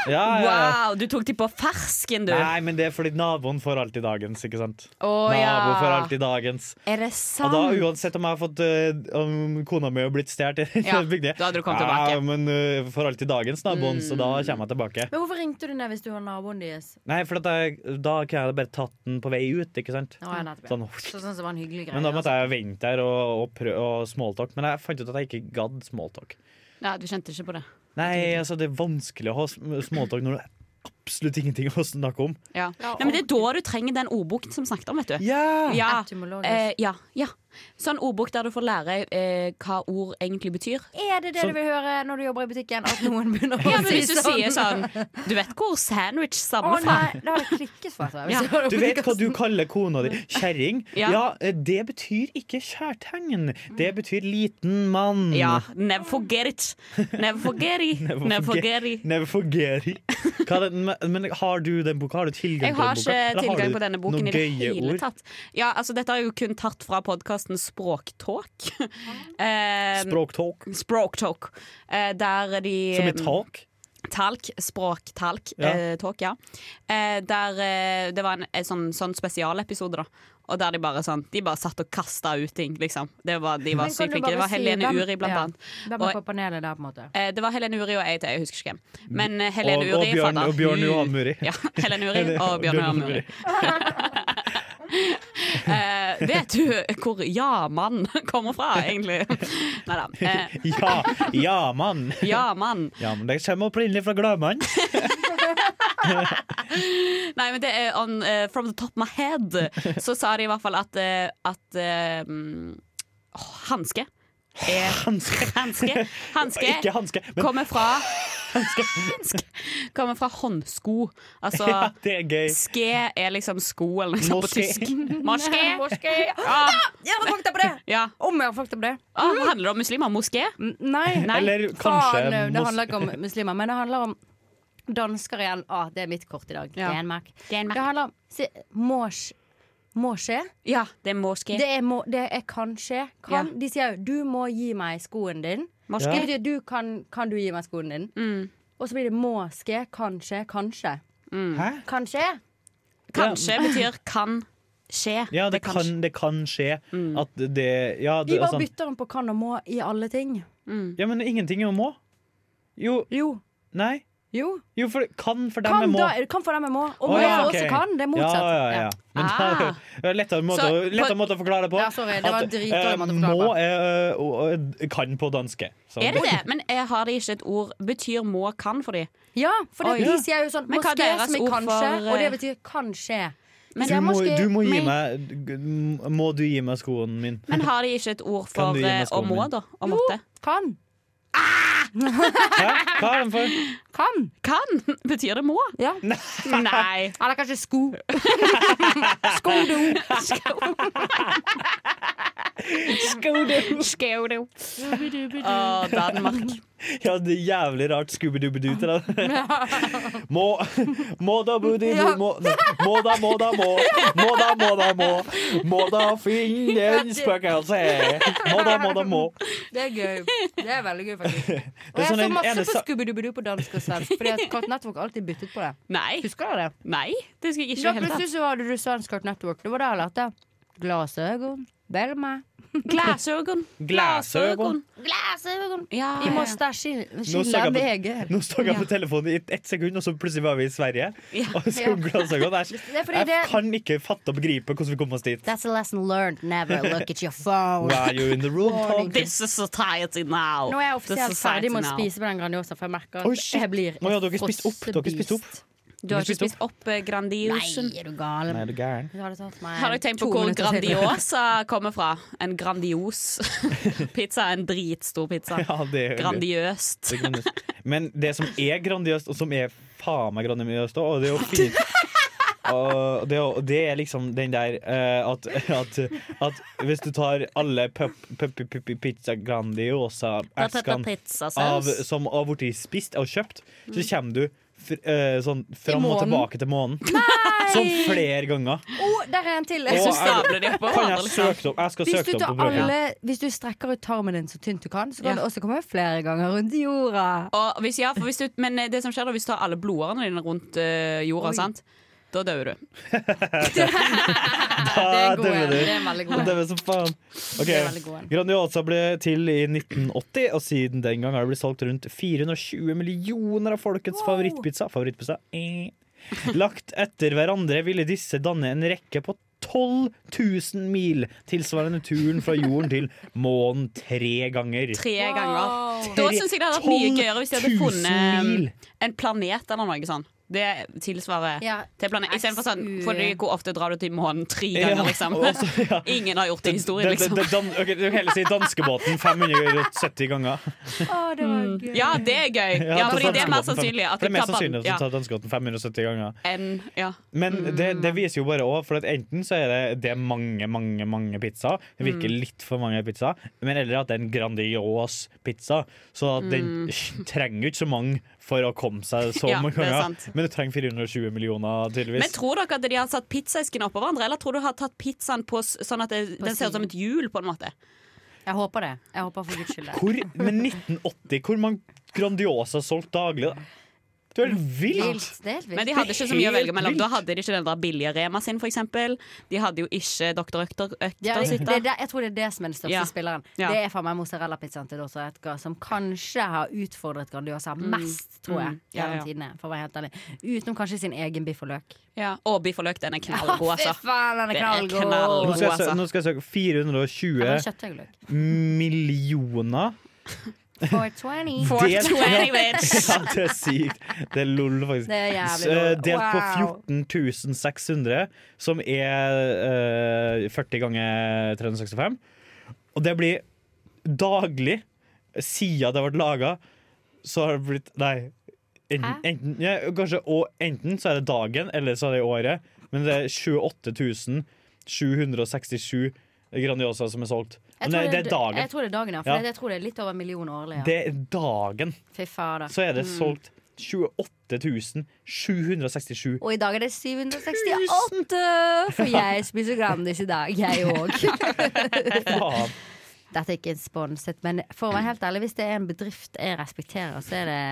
Ja, ja, ja.
Wow, du tok de på fersken, du.
Nei, men det er fordi naboen får alltid dagens, ikke sant?
Å
Naboen får
ja.
alltid dagens.
Er det
Og da,
sant?
uansett om jeg har fått eh, Om kona mi har blitt stjålet i
Ja,
*laughs* bygda
da hadde du kommet
Ja,
tilbake. Mm.
men uh, får alltid dagens naboen, så da kommer jeg tilbake.
Men hvorfor ringte du ned hvis du var naboen deres?
Nei, for at jeg, da kunne jeg bare tatt den på vei ut, ikke sant?
Å, ja, nettopp, ja.
Sånn,
Så sånn som var en hyggelig greie.
men da måtte jeg vente der og, og, prø- og smalltalk. Men jeg fant ut at jeg ikke gadd smalltalk.
Ja, du kjente ikke på det.
Nei, altså det er vanskelig å ha sm- smalltalk når det er absolutt ingenting å snakke om.
Ja. Nei, men det er da du trenger den ordboken som vi snakket om, vet du.
Ja!
Ja.
altså. Etymologisk.
Eh, ja, ja. Sånn ordbok der du får lære eh, hva ord egentlig betyr.
Er det det
Så-
du vil høre når du jobber i butikken? At
*laughs*
noen begynner å
Ja, men
si
hvis du sier sånn Du vet hvor sandwich
Å
stammer fra?
nei, det har jeg klikket for. tror jeg, hvis
Ja.
jeg hører
Du
på
vet hva
podcasten.
du kaller kona
*laughs*
di? Kjerring?
Ja. Mm.
Ja, eh, det betyr ikke kjærtegn. Det betyr liten mann.
Ja. Never forget it. Never forget it. Never forget it.
Never forget it. Hva er det, men- men har du den boka? Har du tilgang
Jeg har
til den boka?
ikke
Eller har
tilgang
du
på denne boken
noen
i det
gøye
hele
ord?
tatt. Ja, altså Dette er jo kun tatt fra podkasten Språktalk. Eh,
Språktalk?
Språktalk. Eh, Der de
Som i talk?
Talk, språktalk,
Ja.
eh, talk, ja. Eh, der eh, det var en, en sånn, sånn spesialepisode, da. Og der de bare sånn De bare satt og kasta ut ting, liksom. Det var, de var
Men kan
sykt
du
flinke. Det
bare
var
si
Helene
hvem-
Uri, blant
ja,
annet.
Hvem er
Og-
på panelet der, på en måte?
Eh, det var Helene Uri og jeg til, jeg husker ikke hvem. Men eh, Helene
Og-
Uri
og Bjørn-
fader,
og Bjørn
hun-
Johan Muri. *laughs*
Ja, Helene Uri
Helene- *laughs*
og Bjørn Johan Muri. Eh, vet du hvor ja-mann kommer fra, egentlig?
*laughs*
Nei da. Eh,
Ja, ja, mann.
ja-mann.
Ja, men det kommer opprinnelig fra Gladmann.
Nei, men det er on, eh, From the top of my
*laughs*
head Så sa de i hvert fall at, eh, at eh, mm, åh, Hanske er
Hanske.
Hanske, hanske
Ikke hanske, men *laughs*
kommer fra Hanske Kommer fra håndsko Altså
ja, det er gøy.
Ske er liksom sko eller noe sånt på
Moské.
tysk
*laughs*
Moské
Moské.
ah,
sånn. Jeg har fakta på det!
ja.
Om jeg har fakta på det.
ah, hva Handler det om muslimer? Moské?
Mm, Nei.
*laughs*
Nei.
Eller kanskje
Faen, eh, det
mos-
handler ikke om muslimer, men det handler om dansker igjen. Ah, det er mitt kort i dag.
Ja.
Danmark.
Det er en
Det handler om se, må, skje- må skje.
Ja, det er moské
Det er, må, det er kan skje. Kan, De sier jo 'du må gi meg skoen din'.
Moské
Det betyr du kan, kan du gi meg skoen din.
Mm.
Og så blir det må skje, kanskje, kanskje.
Hæ?
Kanskje?
Kanskje betyr kan skje
Ja, det
skje.
kan, det kan skje
Mm.
at det Ja,
De
det,
bare
altså,
bytter om på kan og må i alle ting.
ja men ingenting er å må. Jo,
Jo.
nei.
Jo.
Jo, for kan for dem
Kan,
er må.
da, kan for dem er må. Og
Å,
må
ja,
for
ok.
oss er kan. Det er motsatt.
Ja, ja, ja. Men
Ah.
da- det er lettere måte,
Så,
å- lettere
på-
måte å forklare det på.
Ja, sorry, det var
At,
dritdårlig
eh,
måte å forklare
Må er, eh, og- og kan på danske. Så-
Er det det? Men eh, har de ikke et ord Betyr må kan for de?
Ja, for det,
Oi.
de sier jo sånn
Men hva er
Moské
deres
som i
ord for,
kanskje,
eh,
og det betyr kanskje. De
Men-
Du
sier
må,
moské,
du må gi
men-
meg g- Må du gi meg skoen min?
Men har de ikke et ord
Kan
for
du gi meg
eh, å
skoen
må,
min?
da? Å måtte?
Kan.
Hæ? Hva er den for?
Kan.
Kan *laughs* betyr det må.
Ja.
Nei.
Eller
*laughs*
kanskje sko. sko do.
Skaudo. Å, Danmark.
Ja, det er jævlig rart Scooby-Dooby-Doo til
*laughs*
den. Må, må da budi
Ja.
må, nei, må da, må da, må. Må da, må da, må. Må da finne en spøkelse. Må da, må da, må.
Det er gøy. Det er veldig gøy, faktisk. Og
Det er
jeg
sånn
så
en-
masse
ene
på
sa-
Scooby-Dooby-Doo på dansk og svensk, fordi at Cartoon Network alltid byttet på det.
Nei.
Husker dere det?
Nei, det skal jeg ikke
Ja,
i det hele tatt.
plutselig så hadde du svensk Cartoon Network. Det var der jeg lærte glasögon, velma,
Glasøgon.
Glasøgon.
glasögon.
Ja,
Vi må
ja.
søker
skille
jeg på-
VG.
Nå står jeg på telefonen i ett sekund, og så plutselig var vi i Sverige. Og så glansøyne. Jeg,
Det er fordi
jeg
det-
kan ikke fatte og begripe hvordan vi kom oss dit.
That's a lesson learned. Never look *laughs* at your phone.
Why are you in the room talking?
This is society now.
Nå er jeg
This is
offisielt ferdig med å
society now.
spise på den Grandiosa, for jeg merker at
Oi, shit.
jeg blir
Å ja, dere spiste opp. Dere spiste opp.
frossebist.
Du har ikke
Spist
spist opp eh, Grandiosen.
Nei, er du gal?
Nei, er du gæren?
Det hadde tatt meg
Har dere tenkt på
to
hvor
minutter å si
*laughs*
det.
Grandiosa kommer fra? En grandios *laughs* pizza er en dritstor pizza.
Ja, det er det
Grandiøst.
er grandiøst. Men det som er grandiøst, og som er faen meg grandiøst òg, og det
*laughs*
er jo fint og det, er jo- det er liksom den der eh, at, at, at hvis du tar alle pup, pup, pup, pup, pizza Grandiosa-eskene av,
Pizzasaus.
som har blitt spist og kjøpt, så kommer du fr, eh, sånn fram og
Mm. månen.
tilbake til månen. Sånn flere ganger.
Å, der er en til!
Og
Og
så
er-
stabler de oppå
Kan
hverandre.
jeg
Liksom.
søke det opp? Jeg skal
Hvis du,
søke det
tar
opp på bøker.
alle, hvis du strekker ut tarmen din så tynt du kan, så kan
Ja.
det også komme flere ganger rundt jorda.
Og hvis, ja, for hvis du, men eh, det som skjer da, hvis du tar alle blodårene dine rundt eh, jorda,
Oi.
sant? da dør du.
Ja,
det er en god
dømmer
en.
du.
Det er en
*laughs*
veldig god en.
Det dømmer som faen. Ok,
Det er en veldig god en.
Grandiosa ble til i 1980, og siden den gang har det blitt solgt rundt 420 millioner av folkets favorittpizza. Favorittpizza eh. Lagt etter hverandre ville disse danne en rekke på 12 000 mil, tilsvarende turen fra jorden til månen tre ganger.
Tre ganger. Da syns jeg det hadde vært mye gøyere hvis de hadde
12 000 mil.
funnet um, en planet eller noe sånt. Det tilsvarer
Ja,
til planet. Istedenfor sånn for
SU.
Hvor ofte drar du til månen? Tre ganger, liksom.
og også, ja.
*laughs* Ingen har gjort det i historien,
Det, det,
liksom.
det, dan, ok, du kan heller si danskebåten 570 ganger.
det var gøy.
Ja, det er gøy. Ja,
ta
fordi det er mer
danskebåten fem-
sannsynlig
For
at
det er
de
mer
tar
sannsynlig at
ja,
du tar danskebåten 570 ganger.
enn- ja.
Men
Mm.
det, det viser jo bare òg, for at enten så er det, det er mange, mange mange pizzaer. Det virker
Mm.
litt for mange pizzaer. Men eller at det er en grandios pizza. Så at den *laughs* trenger jo ikke så mange for å komme seg så
Mm. Ja,
mange
det er
ganger.
sant.
Men du trenger 420 millioner,
Men
tydeligvis.
tror dere at de har satt pizzaesken oppå hverandre, eller tror du de har tatt pizzaen på s- sånn at det,
På
den ser
siden.
ut som et hjul, på en måte?
Jeg håper det. Jeg håper for guds skyld det.
Hvor, men 1980, hvor mange Grandiosa solgt daglig? da? Det er helt vilt!
Vilt. Det er helt
Men
vilt.
de hadde ikke så mye å
Helt
velge mellom. Da
vilt.
hadde de ikke den der billige Rema sin, for eksempel. De hadde jo ikke Dr. Økter,
Det er,
Økter sitt
det er,
der.
det- jeg tror det er det som er den største
Ja.
spilleren.
Ja.
Det er for meg mozzarella-pizzaen til Dr. Edgar, som kanskje har utfordret Grandiosa mest, tror jeg,
Mm. Ja,
gjennom
ja.
tidene. For å være helt ærlig. Utenom kanskje sin egen biff og løk.
Ja. Og biff og løk, den er knallgod, altså.
faen, den er
Det er
knallgod!
knallgod.
Nå skal, jeg, sø-
altså.
nå skal jeg søke
Eller
420
*laughs*
kjøttøyeløk.
millioner.
420.
Delt-
420,
*laughs*
bitch!
Ja, det er sykt. Det er lol, faktisk.
Det er jævlig
S- eh,
lol.
Delt
Wow.
på 14 600, som er eh, 40 ganger 365. Og det blir daglig, siden det ble laga, så har det blitt Nei. Enten,
Hæ?
enten, ja, kanskje, og enten så er det dagen, eller så er det året. Men det er 28 767 Grandiosa som er solgt.
Jeg
Men det,
tror
det er
Jeg
dagen.
tror det er dagen, ja. For
Ja.
det- jeg tror det er litt over en million årlig. Ja.
Det er dagen.
Fy fader.
så er det solgt 28 767.
Og i dag er det 768! For jeg spiser Grandis i dag, jeg
*laughs*
òg.
Faen.
Dette er ikke sponset, men for å være helt ærlig, hvis det er en bedrift jeg respekterer, så er det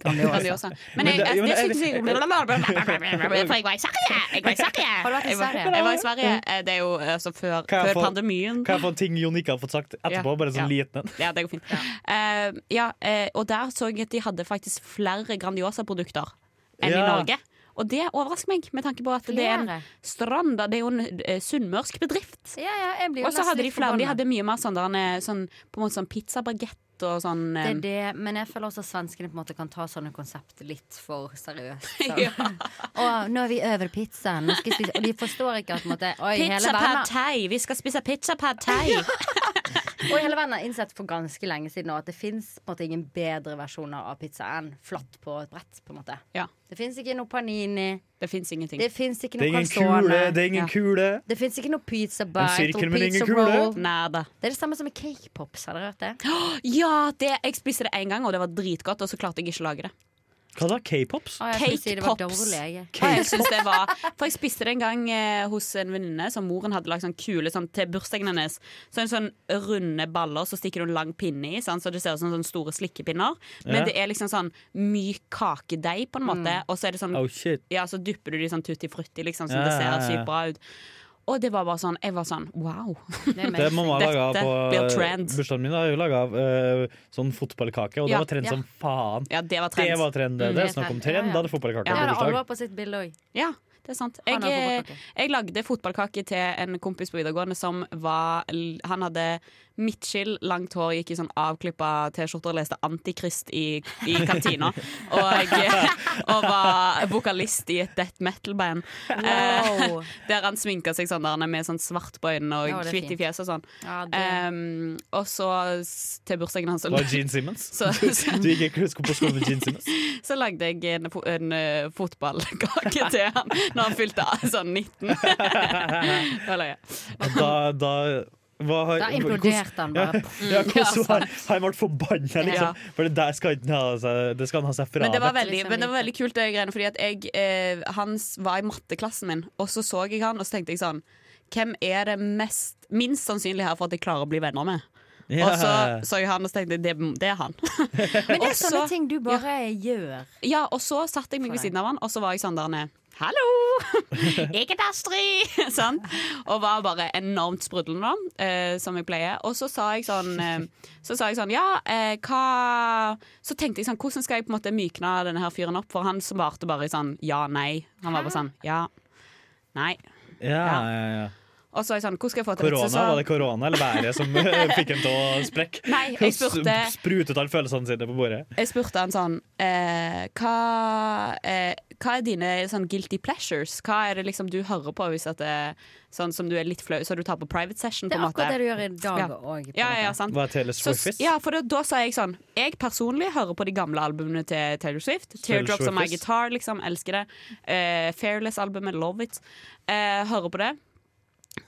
Grandiosa.
Grandiosa.
Men
Men jeg,
det-
jeg,
jo, men
det
jeg-
skulle jeg si For jeg var i Sverige! Jeg var i Sverige.
Har du vært i
Jeg var-
Sverige?
Jeg var i Sverige. Eh, Det er jo altså før,
Kan jeg
før
få-
pandemien.
Kan jeg få en ting Jon ikke har fått sagt etterpå?
Ja,
Bare sånn
ja.
liten en.
Ja, det går fint. Eh, ja, eh, og der så jeg at de hadde faktisk flere Grandiosa-produkter enn i
Ja.
Norge. Og det overrasker meg, med tanke på at det er en
Flere?
strand Det er jo en eh, sunnmørsk bedrift.
Ja, ja, jeg blir jo
Og så
nesten
hadde de
litt
flere. De
forbanna.
hadde mye mer sånn, der, eh, sånn, på en måte sånn pizzabagett og sånn
det
eh,
er det, men jeg føler også at svenskene på en måte kan ta sånne konsept litt for seriøst.
*laughs*
Så.
Ja.
Og nå er vi over pizzaen. Nå skal vi spise. Og de forstår ikke at på en måte, oi, hele
Pizza pad
verden,
thai! Vi skal spise pizza pad thai!
og hele verden har innsett for ganske lenge siden nå at det fins ingen bedre versjoner av pizza enn flatt på et brett. på en måte
Ja,
Det fins ikke noe panini,
det fins ingenting.
det fins ikke
Det
noe
er ingen kule,
calzone.
det er ingen
Ja.
kule.
Det fins ikke noe pizza
En
bite
sirkel,
og
men ingen
pizza
kule.
roll.
Nada.
Det er det samme som med cakepops. Har dere hørt det?
Ja, det, jeg spiste det én gang, og det var dritgodt, og så klarte jeg ikke å lage det.
Hva da? K-pops?
Å, jeg skulle si det var
Cakepops.
dårlig, jeg.
Og jeg synes det var For jeg spiste det en gang eh, hos en venninne som moren hadde lagd sånn kule sånn, til bursdagen hennes. Så en sånn runde baller, så stikker du en lang pinne i, sant? så det ser ut som sånne store slikkepinner. Men
Ja.
det er liksom sånn myk kakedeig, på en måte.
Mm.
Og så er det sånn
Oh shit.
Ja, så dypper du de sånn tutti frutti, liksom, så
Ja,
det
ja,
ser
ja.
sykt bra ut. Og det var bare sånn Jeg var sånn wow.
Det er
Det mamma
Dette
laga på eh,
blir trend.
bursdagen min, da, er jo laga av eh, sånn fotballkake, og det
Ja,
var trend
ja.
som faen.
Ja, det var
Det
trend.
var trend.
Mm,
Det
det
er
er
snakk om
trend.
trend.
Ja, ja.
Da er det fotballkake
Jeg
på
hadde
bursdag.
alvor på sitt bilde òg.
Ja, det er sant. Jeg,
Han har fotballkake.
jeg lagde fotballkake til en kompis på videregående som var l- Han hadde midtskill, langt hår, gikk i sånn avklippa T-skjorte og leste Antikrist i, i
*laughs*
kantina. og, og var vokalist i et death metal-band. Eh, *laughs*
Wow.
der han sminka seg sånn der, han er med sånn svart på øynene
Ja,
og
det er
hvitt i
fint.
fjeset og sånn.
Ja, det-
Em, og så s- til bursdagen hans så,
Det var Gene Simmons.
så, så,
*laughs* Du gikk ikke på skolen med Gene Simmons.
*laughs* så lagde jeg en, fo- en eh, fotballkake til han når han fylte *laughs* sånn 19. Da løy jeg.
Da, da hva har-
Da
hvordan-
imploderte han
*laughs* Ja,
bare. Mm,
ja, hvordan har har han vært forbanna,
Ja.
liksom? For det der skal han ha seg, det skal han ha seg
Men det var
frabedt.
veldig,
Liksom
men det var
lite.
veldig kult, det greiene. Fordi at jeg, eh, han s- var i matteklassen min, og så så jeg han, og så tenkte jeg sånn Hvem er det mest, minst sannsynlig her for at jeg klarer å bli venner med? Og så så jeg han og så tenkte jeg, det, det er han.
Men det
Og
er sånne
så-
ting du bare gjør.
Ja, og så satt jeg meg ved
For deg.
siden av han, og så var jeg sånn der nede. Hallo! *laughs* Jeg er Astrid! *laughs* sant? Og var bare enormt sprudlende, da, eh, som jeg pleier. Og så sa jeg sånn, eh, så sa jeg sånn Ja, eh, hva Så tenkte jeg sånn Hvordan skal jeg på en måte mykne denne her fyren opp? For han svarte bare i sånn ja, nei. Han var bare sånn ja, nei.
Ja, ja, ja.
Og så er jeg sånn, hvordan skal jeg få til
Korona,
vitser? Så-
Var det korona eller været som
*laughs*
eh, fikk en til å sprekke?
Nei, jeg spurte-
Sp- Sprutet alle følelsene sine på bordet?
Jeg spurte han sånn eh, hva, eh, hva er dine sånn guilty pleasures? Hva er det liksom du hører på hvis at det, sånn som du er litt flau, så du tar på private session?
Det er
på en måte?
akkurat det du gjør i dag
Ja.
òg.
Ja, ja, ja, sant.
Var det Taylor
Så-
Swift?
ja, for da, da sa jeg sånn Jeg personlig hører på de gamle albumene til Taylor Swift.
Taylor
'Teardrops on My
Swift-ist.
Guitar', liksom. Elsker det. Eh, Fairless-albumet, 'Love It'. Eh, hører på det.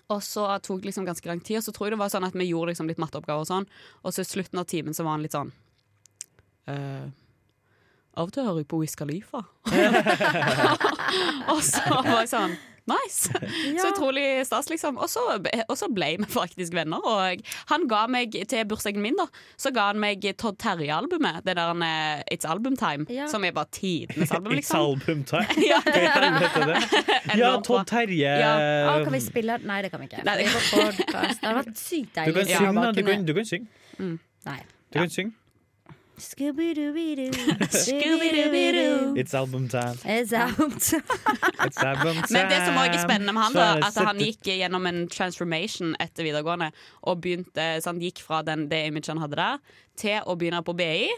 Og så tok det liksom ganske lang tid, og så tror jeg det var sånn at vi gjorde liksom litt matteoppgaver og sånn, og så i slutten av timen så var han litt sånn eh, Av og til hører jeg på Wiz
*laughs*
Khalifa. *laughs* og så var jeg sånn
*laughs*
Nice! Så utrolig stas, liksom. Og så, og så ble vi faktisk venner. Og han ga meg, til bursdagen min, da, så ga han meg Todd Terje-albumet. Det der eh, It's Album Time,
Ja.
som er
*laughs*
bare tidenes album,
It's
liksom.
album time.
*laughs* Ja.
Hva i helvete er
*laughs*
det? Ja,
Enormt bra.
Todd Terje.
Ja. Ah, kan vi spille Nei, det kan vi ikke.
Ehm, Nei, det-
det, var podcast. det hadde vært sykt
Du
deilig.
kan
Ja.
synge, da. Du
Bakene-
kan, du kan synge.
Nei.
Du kan synge.
Scooby-dooby-doo.
Scooby-dooby-doo.
It's album time.
It's album time.
*laughs*
It's album time.
Men det som også er spennende med han,
Så
da,
er det
at han
sette-
gikk gjennom en transformation etter videregående. Og begynte, så han gikk fra den, det imaget han hadde der, til å begynne på BI.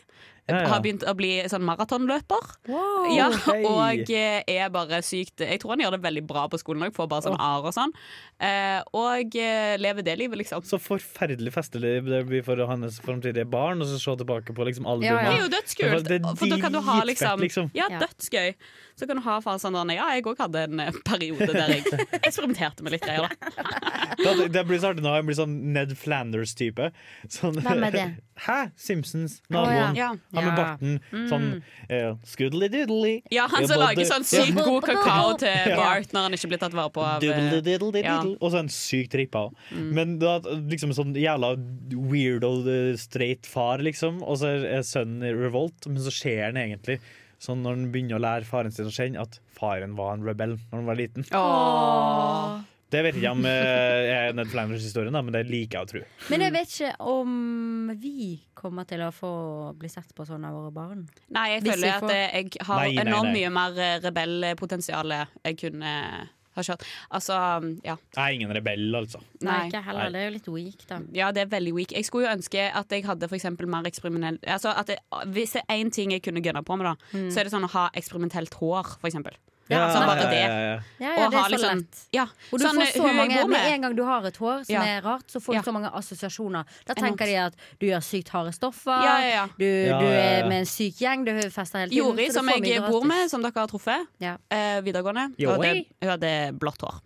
Ja, ja.
Har begynt å bli sånn maratonløper.
Wow.
Ja,
Hei.
og eh, er bare sykt Jeg tror han gjør det veldig bra på skolen òg, får bare sånn arr og sånn. Eh, og eh, lever det livet, liksom.
Så forferdelig festlig det blir for hans framtidige barn å se tilbake på liksom albumet.
Det er jo dødskult!
Det er
For da kan du ha
dritfett,
liksom,
liksom.
Ja,
Ja.
dødsgøy. Så kan du ha faen sånn Ja, jeg òg hadde en eh, periode der jeg eksperimenterte med litt greier, da.
Det, det blir så artig nå. Jeg blir sånn Ned Flanders-type. Sånn,
Hvem er det?
*laughs* Hæ? Simpsons.
Å,
Naboen.
ja.
Han med
Ja.
barten. Sånn eh, scoodly-doodly.
Ja, han som
Både-
lager sånn
Ja.
sykt god kakao til Bart når han ikke blir tatt vare på av eh,
Doodle-diddle-diddle.
Ja. Mm.
Og så en syk rippa. Men da, liksom sånn jævla weirdo eh, straight far, liksom. Og så er sønnen i revolt, men så ser han egentlig Sånn når han begynner å lære faren sin å kjenne, at faren var en rebell når han var liten. Det vet jeg ikke om eh, er Ned Flanders-historien, da, men det liker jeg å tro.
Men jeg vet ikke om vi kommer til å få bli sett på sånn av våre barn.
Nei, jeg
Hvis vi
føler at
får-
eh, jeg har
Nei, nei,
enormt
nei.
mye mer eh, rebellpotensial eh, jeg kunne ha kjørt. Altså, ja.
Jeg er ingen rebell, altså.
Nei,
Nei. Mm.
ikke heller. Det er jo litt weak, da.
Ja, det er veldig weak. Jeg skulle jo ønske at jeg hadde for eksempel mer eksperimentell altså at jeg, Hvis det er én ting jeg kunne gønna på med, da,
Mm.
så er det sånn å ha eksperimentelt hår, for eksempel.
Ja,
sånn bare
ja,
det.
ja.
Ja, ja,
Og
det
ha
er så
liksom-
lett.
Ja.
Og du
sånn,
får så
hun jeg
mange,
bor
Med
med
en gang du har et hår som
Ja.
er rart, så får du
Ja.
så mange assosiasjoner. Da
Enormt.
tenker de at du gjør sykt harde stoffer,
Ja, ja, ja.
Du,
Ja,
du
ja, ja.
er med en syk gjeng, du fester hele tiden. så
Jori,
du
som
får
jeg
mye
bor
gratis.
med, som dere har truffet
ja.
eh, videregående, hun hadde,
Jori?
hun hadde blått hår.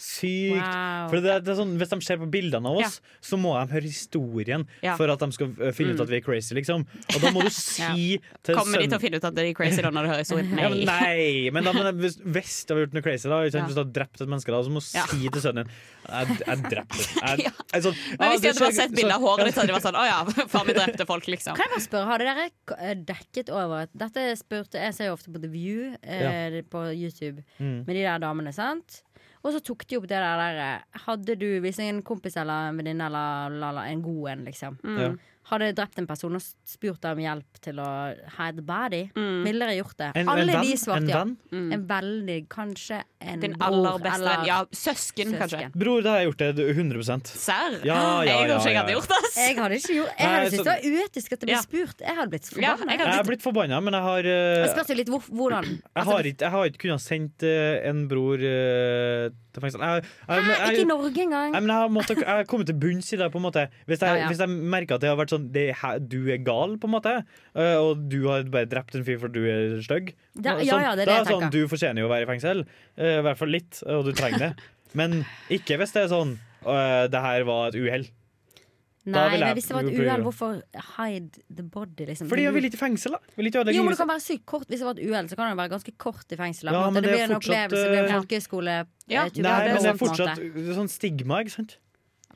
Sykt.
Wow.
For det, det er sånn, hvis de ser på bildene av oss, så må de høre historien
Ja. Mm.
for at de skal eh, finne ut at vi er crazy, liksom. Og da må du
*laughs*
si til
Kommer de til å
sønnen
finne ut at de er crazy da når de hører
*laughs*
historien?
ja, men nei, men da, men hvis, hvis du har gjort noe crazy, da, ikke sant?
Ja.
hvis du har drept et menneske, da, så må du
Ja.
si til sønnen din Jeg, jeg drepte jeg,
*laughs* Ja.
jeg, sånn,
Men
«Ah,
hvis de
det
hadde
skjer-
bare sett bilde av
så-
håret ditt, så hadde de vært sånn Å ja, *laughs* faen, vi drepte folk, liksom.
Kan jeg bare spørre, har dere k- eh, dekket over at Dette spurte Jeg ser jo ofte på The View eh, på YouTube
Mm.
med de der damene, sant? Og så tok de opp det der, der eh, Hadde du, hvis en kompis eller en venninne eller la, la, en god en, liksom
Mm.
Ja.
Hadde drept en person og spurt deg om hjelp til å hide the body,
Mm.
ville dere gjort det?
En- en
Alle
venn?
de svarte
En
ja.
venn?
En veldig Kanskje en
Din
bror
Mm. aller beste venn.
eller
Ja, søsken, kanskje.
søsken.
Bror, da har jeg gjort det 100
Serr? Ah,
Ja, ja,
jeg tror
ja,
ikke jeg hadde
ja.
gjort det. ass.
Jeg hadde ikke
*laughs*
gjort Jeg
Nei,
hadde
så-
syntes det var uetisk at det ble
Ja.
spurt. Jeg hadde blitt
Ja,
forbanna.
jeg
Jeg
hadde
har blitt forbanna, men jeg har eh,
Det spørs jo litt hvor, hvordan. Altså,
Jeg har ikke, jeg har ikke kunnet sendt eh, en bror eh, til fengsel. Jeg, jeg,
Hæ,
jeg,
ikke i Norge engang.
Nei, men jeg har, måttet, jeg har kommet til bunns i det. på en måte Hvis jeg,
Ja, ja.
Hvis jeg merker at det har vært sånn det, her, Du er gal, på en måte, eh, og du har bare drept en fyr fordi du er stygg
Da-
Og
ja,
sånn,
ja, det er det
da
jeg
sånn,
tenker.
Du fortjener jo å være i fengsel. eh, I hvert fall litt, og du
*laughs*
trenger det. Men ikke hvis det er sånn eh, Det her var et uhell.
Nei,
Da vil jeg
men hvis det var et
prøve.
uhell, hvorfor hide the body? Liksom?
Fordi jeg vil ikke i fengsel, da. Vil ikke
jo, men det
ødelegge
kan være sykt kort Hvis det var et uhell, så kan det være ganske kort i fengsel. da, på
Ja,
en måte.
men
det
det er
blir en
fortsatt,
opplevelse, det blir
eh,
en folkeskole.
Ja.
eh, tur.
Nei, men det er
på en
fortsatt
måte.
sånn stigma, ikke sant?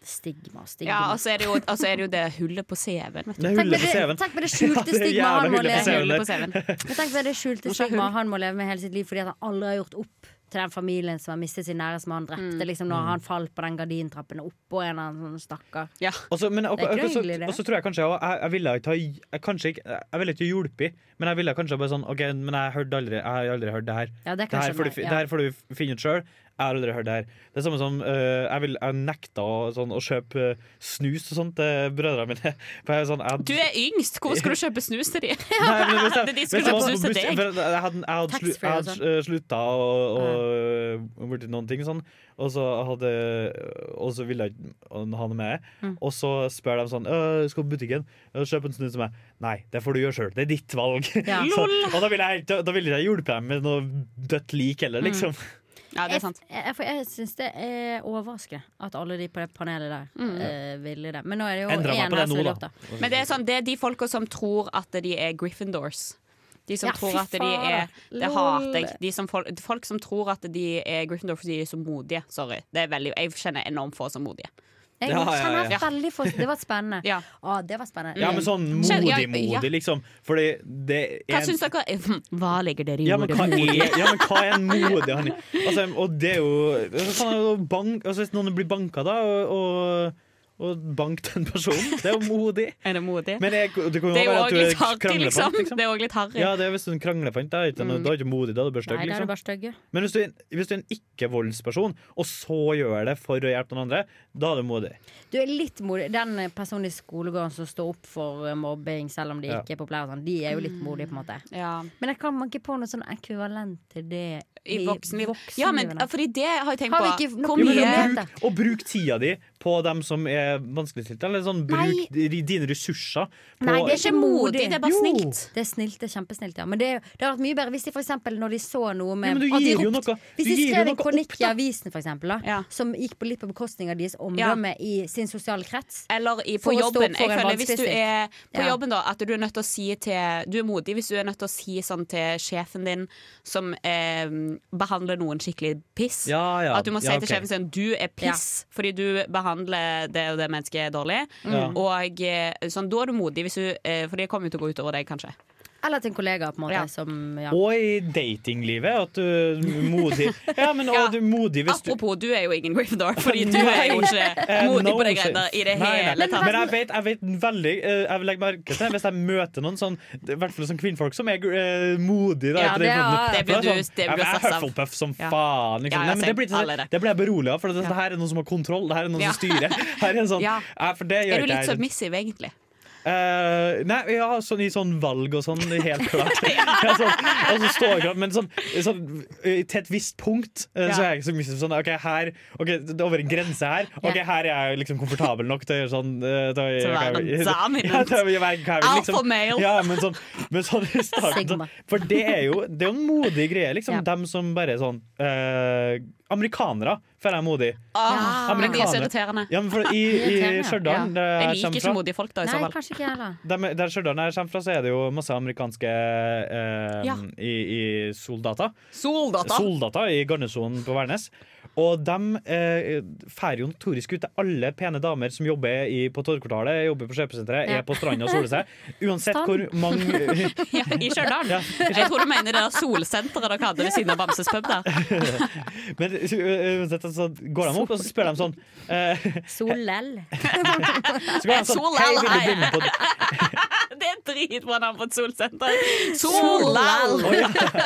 Stigma, stigma.
Ja, og så er det jo, og så er det, jo det hullet på CV-en, vet du.
Det er
Tenk med
hullet på
det-
CV-en.
tenk med det skjulte
*laughs* Ja, det er
stigma han
jævla
må
hullet på
leve
CV-en.
med.
Hullet på CV-en.
Men Tenk med det skjulte
Hvorfor
stigma
hull?
han må leve med hele sitt liv fordi at han aldri har gjort opp til den familien som har mistet sin nære, som han drepte
Mm.
liksom,
Mm.
når han falt på den gardintrappen og oppå en eller annen sånn stakkar.
Ja.
Og så, men, og,
Det er ikke
og,
noe
så,
hyggelig, det.
og så tror jeg kanskje jeg, jeg, jeg ville ikke ha jeg, kanskje ikke, jeg ville ikke hjulpet, men jeg ville kanskje bare sånn OK, men jeg, hørte aldri, jeg har aldri hørt det her.
Ja, det
Det
kan
her
jeg
får du,
skjønne,
fi-
ja.
det her får du finne ut sjøl. Jeg har aldri hørt det her. Det er samme som eh, jeg, vil, jeg nekta å, sånn, å kjøpe eh, snus og sånt til brødrene mine. *laughs* For jeg er sånn, jeg,
Du er yngst, hvorfor skulle du kjøpe snus
*laughs*
til
Nei,
de?
men hvis jeg-
de
hvis
skulle
jeg var
kjøpe
på
snus til
buss-
deg.
for Jeg jeg hadde, jeg hadde, slu,
Taxfree
jeg hadde
og
eh, slutta og, og blitt noen ting sånn, og så, hadde, og så ville jeg ikke ha det med.
Mm.
Og så spør de sånn «Øh, Skal på butikken, øh, kjøp en snus til meg. Nei, det får du gjøre sjøl. Det er ditt valg.
Ja.
*laughs* Så,
Lol.
og da ville jeg, da, da ville jeg hjulpet dem med noe dødt lik
Mm.
heller, liksom.
det er sant.
Jeg, jeg, for jeg syns det er overraskende at alle de på det panelet der
Mm.
eh, ville det. Men nå er det jo
Endra meg på
én
det
her som
nå,
vil
da.
opp, da.
Men det er, sånn, det er de folka som tror at de er Gryffindors. De som
Ja,
tror
fy
at de er
faen.
Det
Lol.
hater jeg. De som folk, folk som tror at de er Gryffindor fordi de er så modige. Sorry. Det er veldig, jeg kjenner enormt få som modige.
Jeg
Ja, ja,
kjenner
ja.
veldig for Det var spennende.
*laughs*
Å, det var spennende.
Ja, men
Mm.
sånn
Kjenn- ja, ja.
modig-modig, liksom. Fordi det
Hva
er
syns dere? *laughs* Hva legger dere i
Ja, men
ordet
hva er,
*laughs* modig?
ja, men hva er en modig han altså, Og det er jo hva faen er det å bank, altså, Hvis noen blir banka, da, og, og, og bank den personen, det er jo modig.
Er det modig?
Men jeg, det kan jo
Det er jo
være at
òg
du er
litt harry, liksom.
kranglefant. Liksom.
Det er også litt harry.
Ja, det er hvis du er en kranglefant. Da, ikke,
Mm.
da er du ikke modig, da er du bare stygg.
Nei, da er du
Liksom.
bare stygg. ja.
Men hvis du, er en- hvis du er en ikke-voldsperson, og så gjør det for å hjelpe noen andre, da er du modig.
Du er litt modig. Den eh, personen i skolegården som står opp for eh, mobbing, selv om de
Ja.
ikke er populære, og sånn, de er jo litt modige, på en
Mm.
måte. Men jeg kan ikke på noe sånn ekvivalent til det
I voksenliv. Ja, men
voksenlivet.
fordi det har jeg tenkt
Har
på.
vi ikke nok
Hvor
Ja, men
mye
da bruk, og bruk tida di på dem som er vanskeligstilte. Eller sånn, bruk di- dine ressurser på
Nei, det er ikke modig,
det er bare
Jo.
snilt.
Det er snilt, det er kjempesnilt, ja. Men det, er jo- det har vært mye bedre hvis de for eksempel når de så noe med
Ja, men du
at de
gir jo
ropte-
noe-
Hvis
du
de
gir jo
skrev en
noe opp,
kronikk i avisen, for eksempel, da, som gikk på litt på bekostning av deres omdømme i sin sosiale krets
Eller i,
for
på
å stå
jobben.
opp for
Jeg
en
føler hvis du
vanskeligstilt.
er på
Ja.
jobben da, at du er nødt til å si til Du er modig hvis du er nødt til å si sånn til sjefen din som eh, behandler noen skikkelig piss.
Ja, ja.
At du må si
Ja,
til
ok.
sjefen sin du er piss fordi du behandler det og det mennesket dårlig.
Ja.
Og eh, sånn, da er du modig, hvis du, eh, for det kommer jo til å gå utover deg, kanskje.
Eller til en kollega, på en måte. Som, ja.
Og i datinglivet. At du er
*laughs*
modig. Ja, men og du er modig hvis du
Apropos, du er jo ingen
*laughs*
Gryffindor, fordi du er jo ikke
Eh,
modig
no
på de greiene der
offense.
i det
Nei, nei.
hele tatt.
Men jeg vet, jeg vet veldig eh, Jeg legger merke til Hvis jeg møter noen sånn I hvert fall sånn kvinnfolk som er eh, modige. da,
Ja,
etter
det
den
er-
podden.
det blir
For er
du-
sånn,
det
ja,
blir
men Jeg
sass
er
av.
Hufflepuff som
Ja.
faen. Liksom.
Ja,
Nei,
ja,
men det
same.
blir ikke
Alle
sånn,
det.
det blir jeg beroliget av, for det, det her er noen som har kontroll. Det her er noen
Ja.
som styrer. Her er, en sånn,
Ja.
ja, for det gjør
Er du
ikke
litt
jeg.
sånn submissiv, egentlig?
Eh, nei, ja, sånn i sånn valg og sånn, helt
*laughs*
klart. ja, sånn, og så står jeg, men sånn, sånn eh, til et visst punkt eh,
Ja.
så er jeg ikke så mye sånn OK, her ok, det er over en grense her. OK,
Ja.
her er jeg liksom komfortabel nok til å gjøre sånn eh, Til
Til å
å gjøre
være
hva jeg vil.
dominant.
*laughs* Ja, til å gjøre hva jeg vil,
Alpha
liksom.
male.
Ja, men sånn, men sånn i starten sånn, For det er jo Det er jo en modig greie, liksom.
Ja.
Dem som bare er sånn eh, Amerikanere føler jeg er modig.
Ah, men de er
Amerikanere.
så irriterende.
Ja, men for i, i Stjørdal, der
Ja. Jeg liker
kommer
ikke
fra-
modige folk, da, i så
Nei,
fall.
kanskje ikke jeg
*laughs*
heller.
der, der Stjørdal jeg kommer fra, så er det jo masse amerikanske eh,
Ja.
i, i soldater.
Soldater.
Soldater i garnisonen på Værnes. Og de eh, fær jo notorisk ut til alle pene damer som jobber i, på Torgkvartalet, jobber på kjøpesenteret,
Ja.
er på stranda og soler
*laughs*
seg. Uansett
Stand.
hvor mange
*laughs*
*laughs*
Ja, I Stjørdal.
Ja, i Stjørdal.
Jeg tror du mener det der solsenteret dere hadde ved siden av Bamses pub der.
Men ø, ø, uansett, så går de opp og så spør de sånn eh,
Solel.
så går de sånn,
Solel,
Hei, vil
hei.
du bli med på
*laughs* Det er dritbra navn på et solsenter.
Solal.
Solal!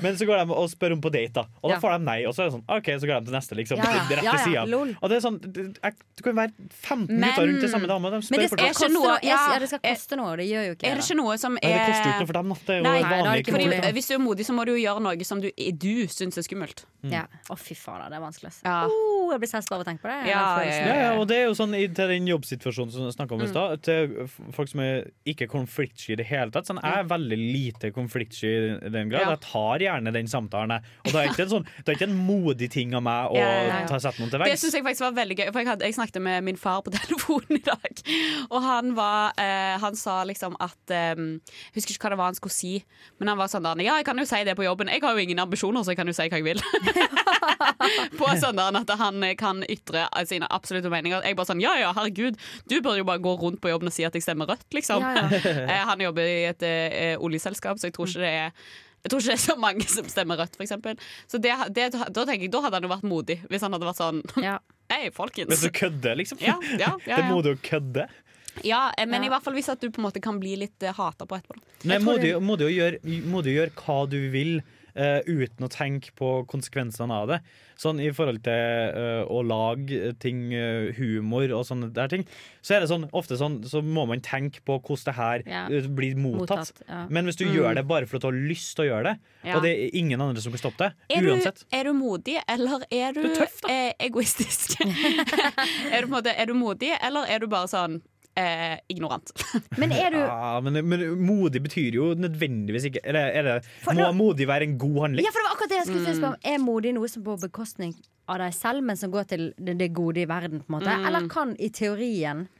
Men så går de og spør om på date, da. Og da
Ja.
får de nei. Og så er det sånn, ok, så går de til neste, liksom.
Ja, ja.
Rett
Ja,
til
ja,
sida.
lol.
Og det er sånn, det- jeg- du kan være 15
Men-
gutter rundt til samme dame, og de spør
Men det sånn- skal
fortsatt.
koste noe-
Nå, jeg,
Ja,
ja, det skal koste noe, det gjør jo ikke
Er det ikke noe som
Nei,
er
det koster jo ikke noe for dem, da. Det er jo
Nei,
en
nei,
vanlig
fordi,
kronikk.
Hvis du er modig, så må du jo gjøre noe som du, du syns er skummelt.
Mm.
Ja. Å, fy faen, da, det er vanskelig. ass.
Ja.
Oh, jeg blir sess bare av å tenke på det.
Ja,
Den
ja,
følelsen.
Ja, ja, og det er jo sånn i, til den jobbsituasjonen som jeg snakket om i
Mm.
stad, til f- folk som er ikke konfliktsky i det hele tatt. Sånn,
Mm.
jeg er veldig lite konfliktsky i den grad.
Ja.
Jeg tar gjerne den samtalen, jeg. Og det er ikke en, sånn, det er ikke en modig ting av meg å
Ja, ja, ja.
ta sette noen til
Det
veggs.
syns jeg faktisk var veldig gøy. For jeg, hadde, jeg snakket med min far på *laughs* telefonen i dag, og han var eh, Han sa liksom at eh, Jeg husker ikke hva det var han skulle si, men han var sånn der Ja, jeg kan jo si det på jobben. Jeg har jo ingen ambisjoner, så jeg kan jo si hva jeg vil. *laughs* på sånn der at han kan ytre sine absolutte meninger. Jeg bare sånn Ja ja, herregud, du bør jo bare gå rundt på jobben og si at jeg stemmer rødt, liksom.
Ja, ja.
*laughs* Eh, han jobber i et eh, oljeselskap, så jeg tror ikke det er jeg tror ikke det er så mange som stemmer rødt, f.eks. Så det, det, da tenker jeg, da hadde han jo vært modig, hvis han hadde vært sånn *laughs* Hei,
*laughs*
folkens.
Hvis du kødder, liksom.
Ja, ja, ja,
Det er
ja.
modig å kødde.
Ja, eh, men i hvert fall hvis at du på en måte kan bli litt eh, hata på etterpå. da.
Nei,
Jeg
må
tror
du,
det-
må, du jo gjøre, må du gjøre hva du vil eh, uten å tenke på konsekvensene av det. Sånn i forhold til eh, å lage ting, eh, humor og sånne der ting. Så er det sånn, ofte sånn, så må man tenke på hvordan det her
Ja.
eh, blir mottatt.
Mottatt, ja.
Men hvis du
Mm.
gjør det bare for at du har lyst til å gjøre det,
Ja.
og det er ingen andre som kan stoppe det,
er du,
uansett.
er du modig, eller er du, eh, egoistisk? *laughs* er, du på en måte, er du modig, eller er du bare sånn eh, ignorant?
Men er du
Ja, Ah, men, men modig betyr jo nødvendigvis ikke Eller er det, må modig være en god handling?
Ja, for det var akkurat det jeg skulle
mm.
til å spørre om. Er modig noe som på bekostning av deg selv, men som går til det det gode i verden, på en måte?
Mm.
Eller kan i teorien eh,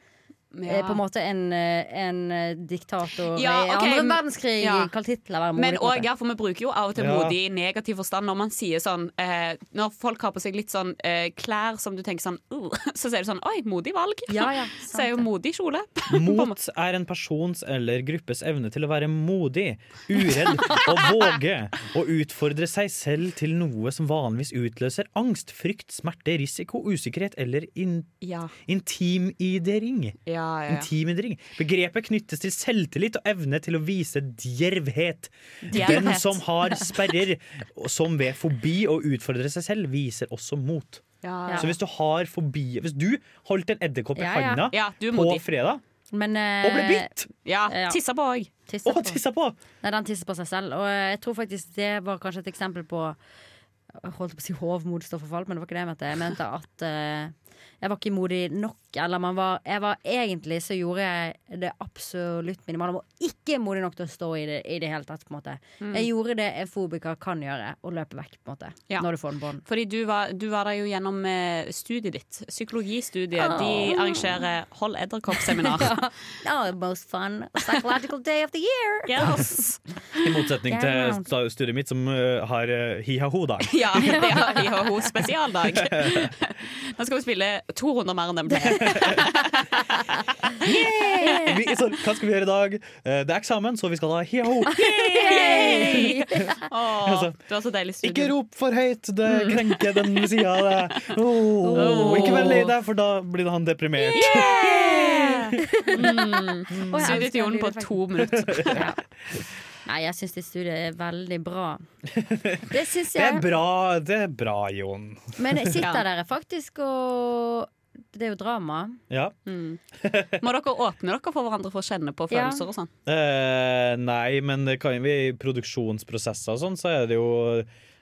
Ja.
på en måte en, eh, en eh, diktator
Ja,
i
ok,
andre
men-
verdenskrig
ja.
kalt Hitler være modig?
Men
på en måte?
òg, ja, for vi bruker jo av og til
Ja.
modig i negativ forstand når man sier sånn eh, Når folk har på seg litt sånn eh, klær som du tenker sånn uh, *laughs* Så sier du sånn Oi, modig valg.
Ja, ja,
*laughs* så er jo modig kjole.
*laughs*
Mot er en persons eller gruppes evne til å være modig, uredd og våge og utfordre seg selv til noe som vanligvis utløser angst, frykt, smerte, risiko, usikkerhet eller in
Ja.
intimidering.
Ja, ja, ja.
Intimidering. Begrepet knyttes til selvtillit og evne til å vise djervhet. Den
Djervhet.
som har sperrer, og som ved fobi å utfordre seg selv, viser også mot.
Ja, ja.
Så hvis du har fobi Hvis du holdt en edderkopp i
Ja, ja.
handa
Ja, du er
på
modig. Eh,
fredag
Men,
Og ble bitt!
Ja, tissa på òg.
Tissa på.
på.
Nei, den tisser på seg selv. Og eh, jeg tror faktisk det var kanskje et eksempel på Jeg holdt på å si hovmod står for fall, men det var ikke det jeg mente. Jeg mente at eh, jeg var ikke modig nok. Eller man var Jeg var egentlig så gjorde jeg det absolutt minimale. Jeg var ikke modig nok til å stå i det i det hele tatt, på en måte.
Mm.
Jeg gjorde det en fobiker kan gjøre, og løpe vekk, på en måte.
Ja.
Når du får en bånd.
Fordi du var, du var der jo gjennom eh, studiet ditt. Psykologistudiet.
Ah.
De
Åh.
arrangerer Hold
*laughs*
edderkopp-seminar.
Oh, most fun psychological day of the
*laughs*
year!
Yes.
I motsetning
Det er
til sta- studiet mitt, som uh, har uh,
*laughs*
hi-ha-ho-dag.
Ja, det har vi og hun
*laughs*
spesialdag. Nå skal vi spille to runder mer enn den pleier.
Vi- så, Hva skal vi gjøre i dag? Eh, det er eksamen, så vi skal ha hi-ha-ho.
Yay! Åh,
Altså,
det var så deilig studio.
Ikke rop for høyt, det
Mm.
krenker den ved sida av deg.
*laughs* Oh.
Åh, Ikke vær lei deg, for da blir han deprimert.
Mm.
Å, jeg
Studiet
elsker
til Jon på
lydeffekten.
to minutter.
*laughs*
*laughs*
ja. Nei, jeg syns det studiet er veldig bra. Det syns
Det er
jeg.
bra, det er bra, Jon.
Men
Ja.
sitter dere faktisk og Det er jo drama.
Ja.
Må dere åpne dere for hverandre for å kjenne på
Ja.
følelser og sånn?
Eh, nei, men det kan vi i produksjonsprosesser og sånn, så er det jo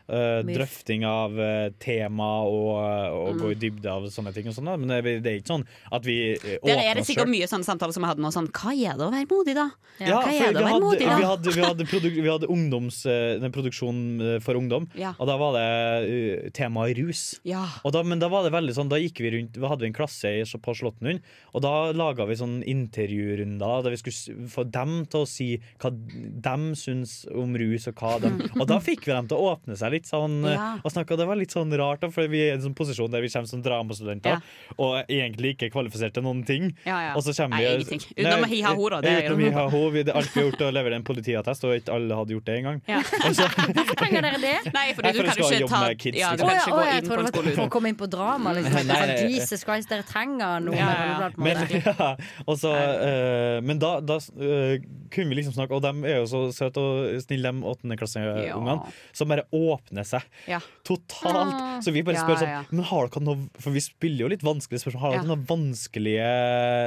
eh,
Mye.
drøfting av eh, tema og, og gå i dybde av sånne ting. og sånn da. Men det, er- det er ikke sånn at vi eh,
Der
åpner
er det
oss
sikkert
selv.
mye sånne samtaler som vi hadde nå, sånn Hva gjør det å være modig, da?
Ja, for
Hva
vi
gjør det å være
hadde,
modig, da?
vi hadde, vi hadde, produk- vi hadde ungdoms, eh, den produksjonen eh, for ungdom,
Ja.
og da var det eh, temaet rus.
Ja.
Og da, men da var det veldig sånn, da gikk vi rundt, da hadde vi en klasse i- på Slåttenhund, og da laga vi sånn intervjurunder der vi skulle s- få dem til å si hva dem syns om rus, og hva
*laughs*
dem Og da fikk vi dem til å åpne seg litt sånn eh,
Ja.
og snakke, og det var litt sånn rart, da, for vi er i en sånn posisjon der vi kommer som dramastudenter og egentlig ikke er kvalifisert til noen ting.
Ja, ja.
Og så kommer
Nei,
vi
ingenting. Utenom å hi ha ho, da, det
Ja,
er jo-
Utenom hi ha ho. Vi- Det er alt vi har gjort, er å levere en politiattest, og ikke alle hadde gjort det engang.
Hvorfor trenger dere det?
*laughs* Nei,
fordi Nei, du for du kan jo skal ikke jobbe ta- med kids, ja, *laughs* du liksom. kan ikke gå
jeg
inn
trodde det
på en
var
skole
For å
uten.
komme inn på drama, liksom.
*laughs* Nei,
Det er
nei,
sånn,
nei.
Jesus Christ, dere trenger noe.
Ja,
bla, bla, bla, på en
Men,
måte.
liksom.
*laughs* ja, og så, eh, men da, da eh, kunne vi liksom snakke Og de er jo så søte og snille, de åttendeklassingene, som bare åpner seg
Ja.
totalt.
Ah.
Så vi bare
Ja,
spør sånn
ja.
Men har dere noe For vi spiller jo litt vanskelige spørsmål. Har dere
Ja.
noen vanskelige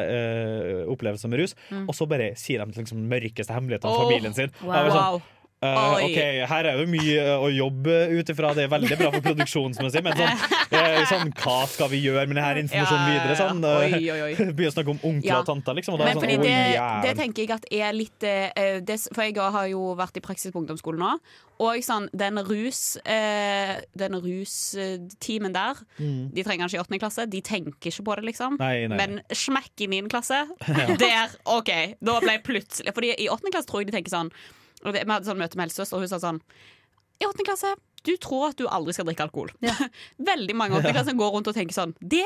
eh, opplevelser med rus?
Mm.
Og så bare sier de liksom mørkeste hemmelighetene
Åh,
om familien sin. Og jeg
wow.
bare sånn, eh,
Oi.
ok, her er jo mye eh, å jobbe ut ifra. Det er veldig bra for produksjonsmessig, men sånn,
*laughs*
eh, sånn Hva skal vi gjøre med denne informasjonen
Ja, ja, ja.
videre? Sånn, eh,
Oi, oi, oi.
*laughs* Begynner å snakke om onkler
Ja.
og tanter, liksom. Og da er
Men
det
fordi
sånn,
det,
«Oi,
det
jævlig».
tenker jeg at er litt eh, det, For jeg har jo vært i praksis på ungdomsskolen nå. Og sånn, den rus eh, Den rustimen der
Mm.
De trenger den ikke i åttende klasse. De tenker ikke på det, liksom.
Nei, nei, nei.
Men smekk i niende klasse,
*laughs*
der OK! Da ble jeg plutselig Fordi i åttende klasse tror jeg de tenker sånn og det, Vi hadde sånn møte med helsesøster, og hun sa sånn I åttende klasse du tror at du aldri skal drikke alkohol *laughs* Veldig mange åttende som går rundt og tenker sånn Det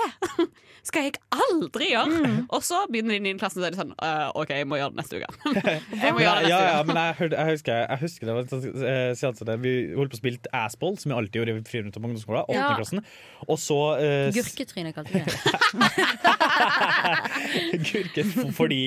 *laughs* skal jeg aldri gjøre!
Mm.
Og så begynner de i klassen og så er de sånn «Eh, OK, jeg må gjøre det neste uke.
*laughs*
jeg må
Nei,
gjøre det neste
ja,
uke.
ja, men jeg, hørte, jeg, husker, jeg husker det var en sånn, eh, seanse der vi holdt på å spille asball, som vi alltid gjorde i friminuttet på ungdomsskolen. åttende
Ja.
klassen. Og så eh, *laughs* s-
Gurketryne kalte vi det.
Gurke f-
*laughs*
fordi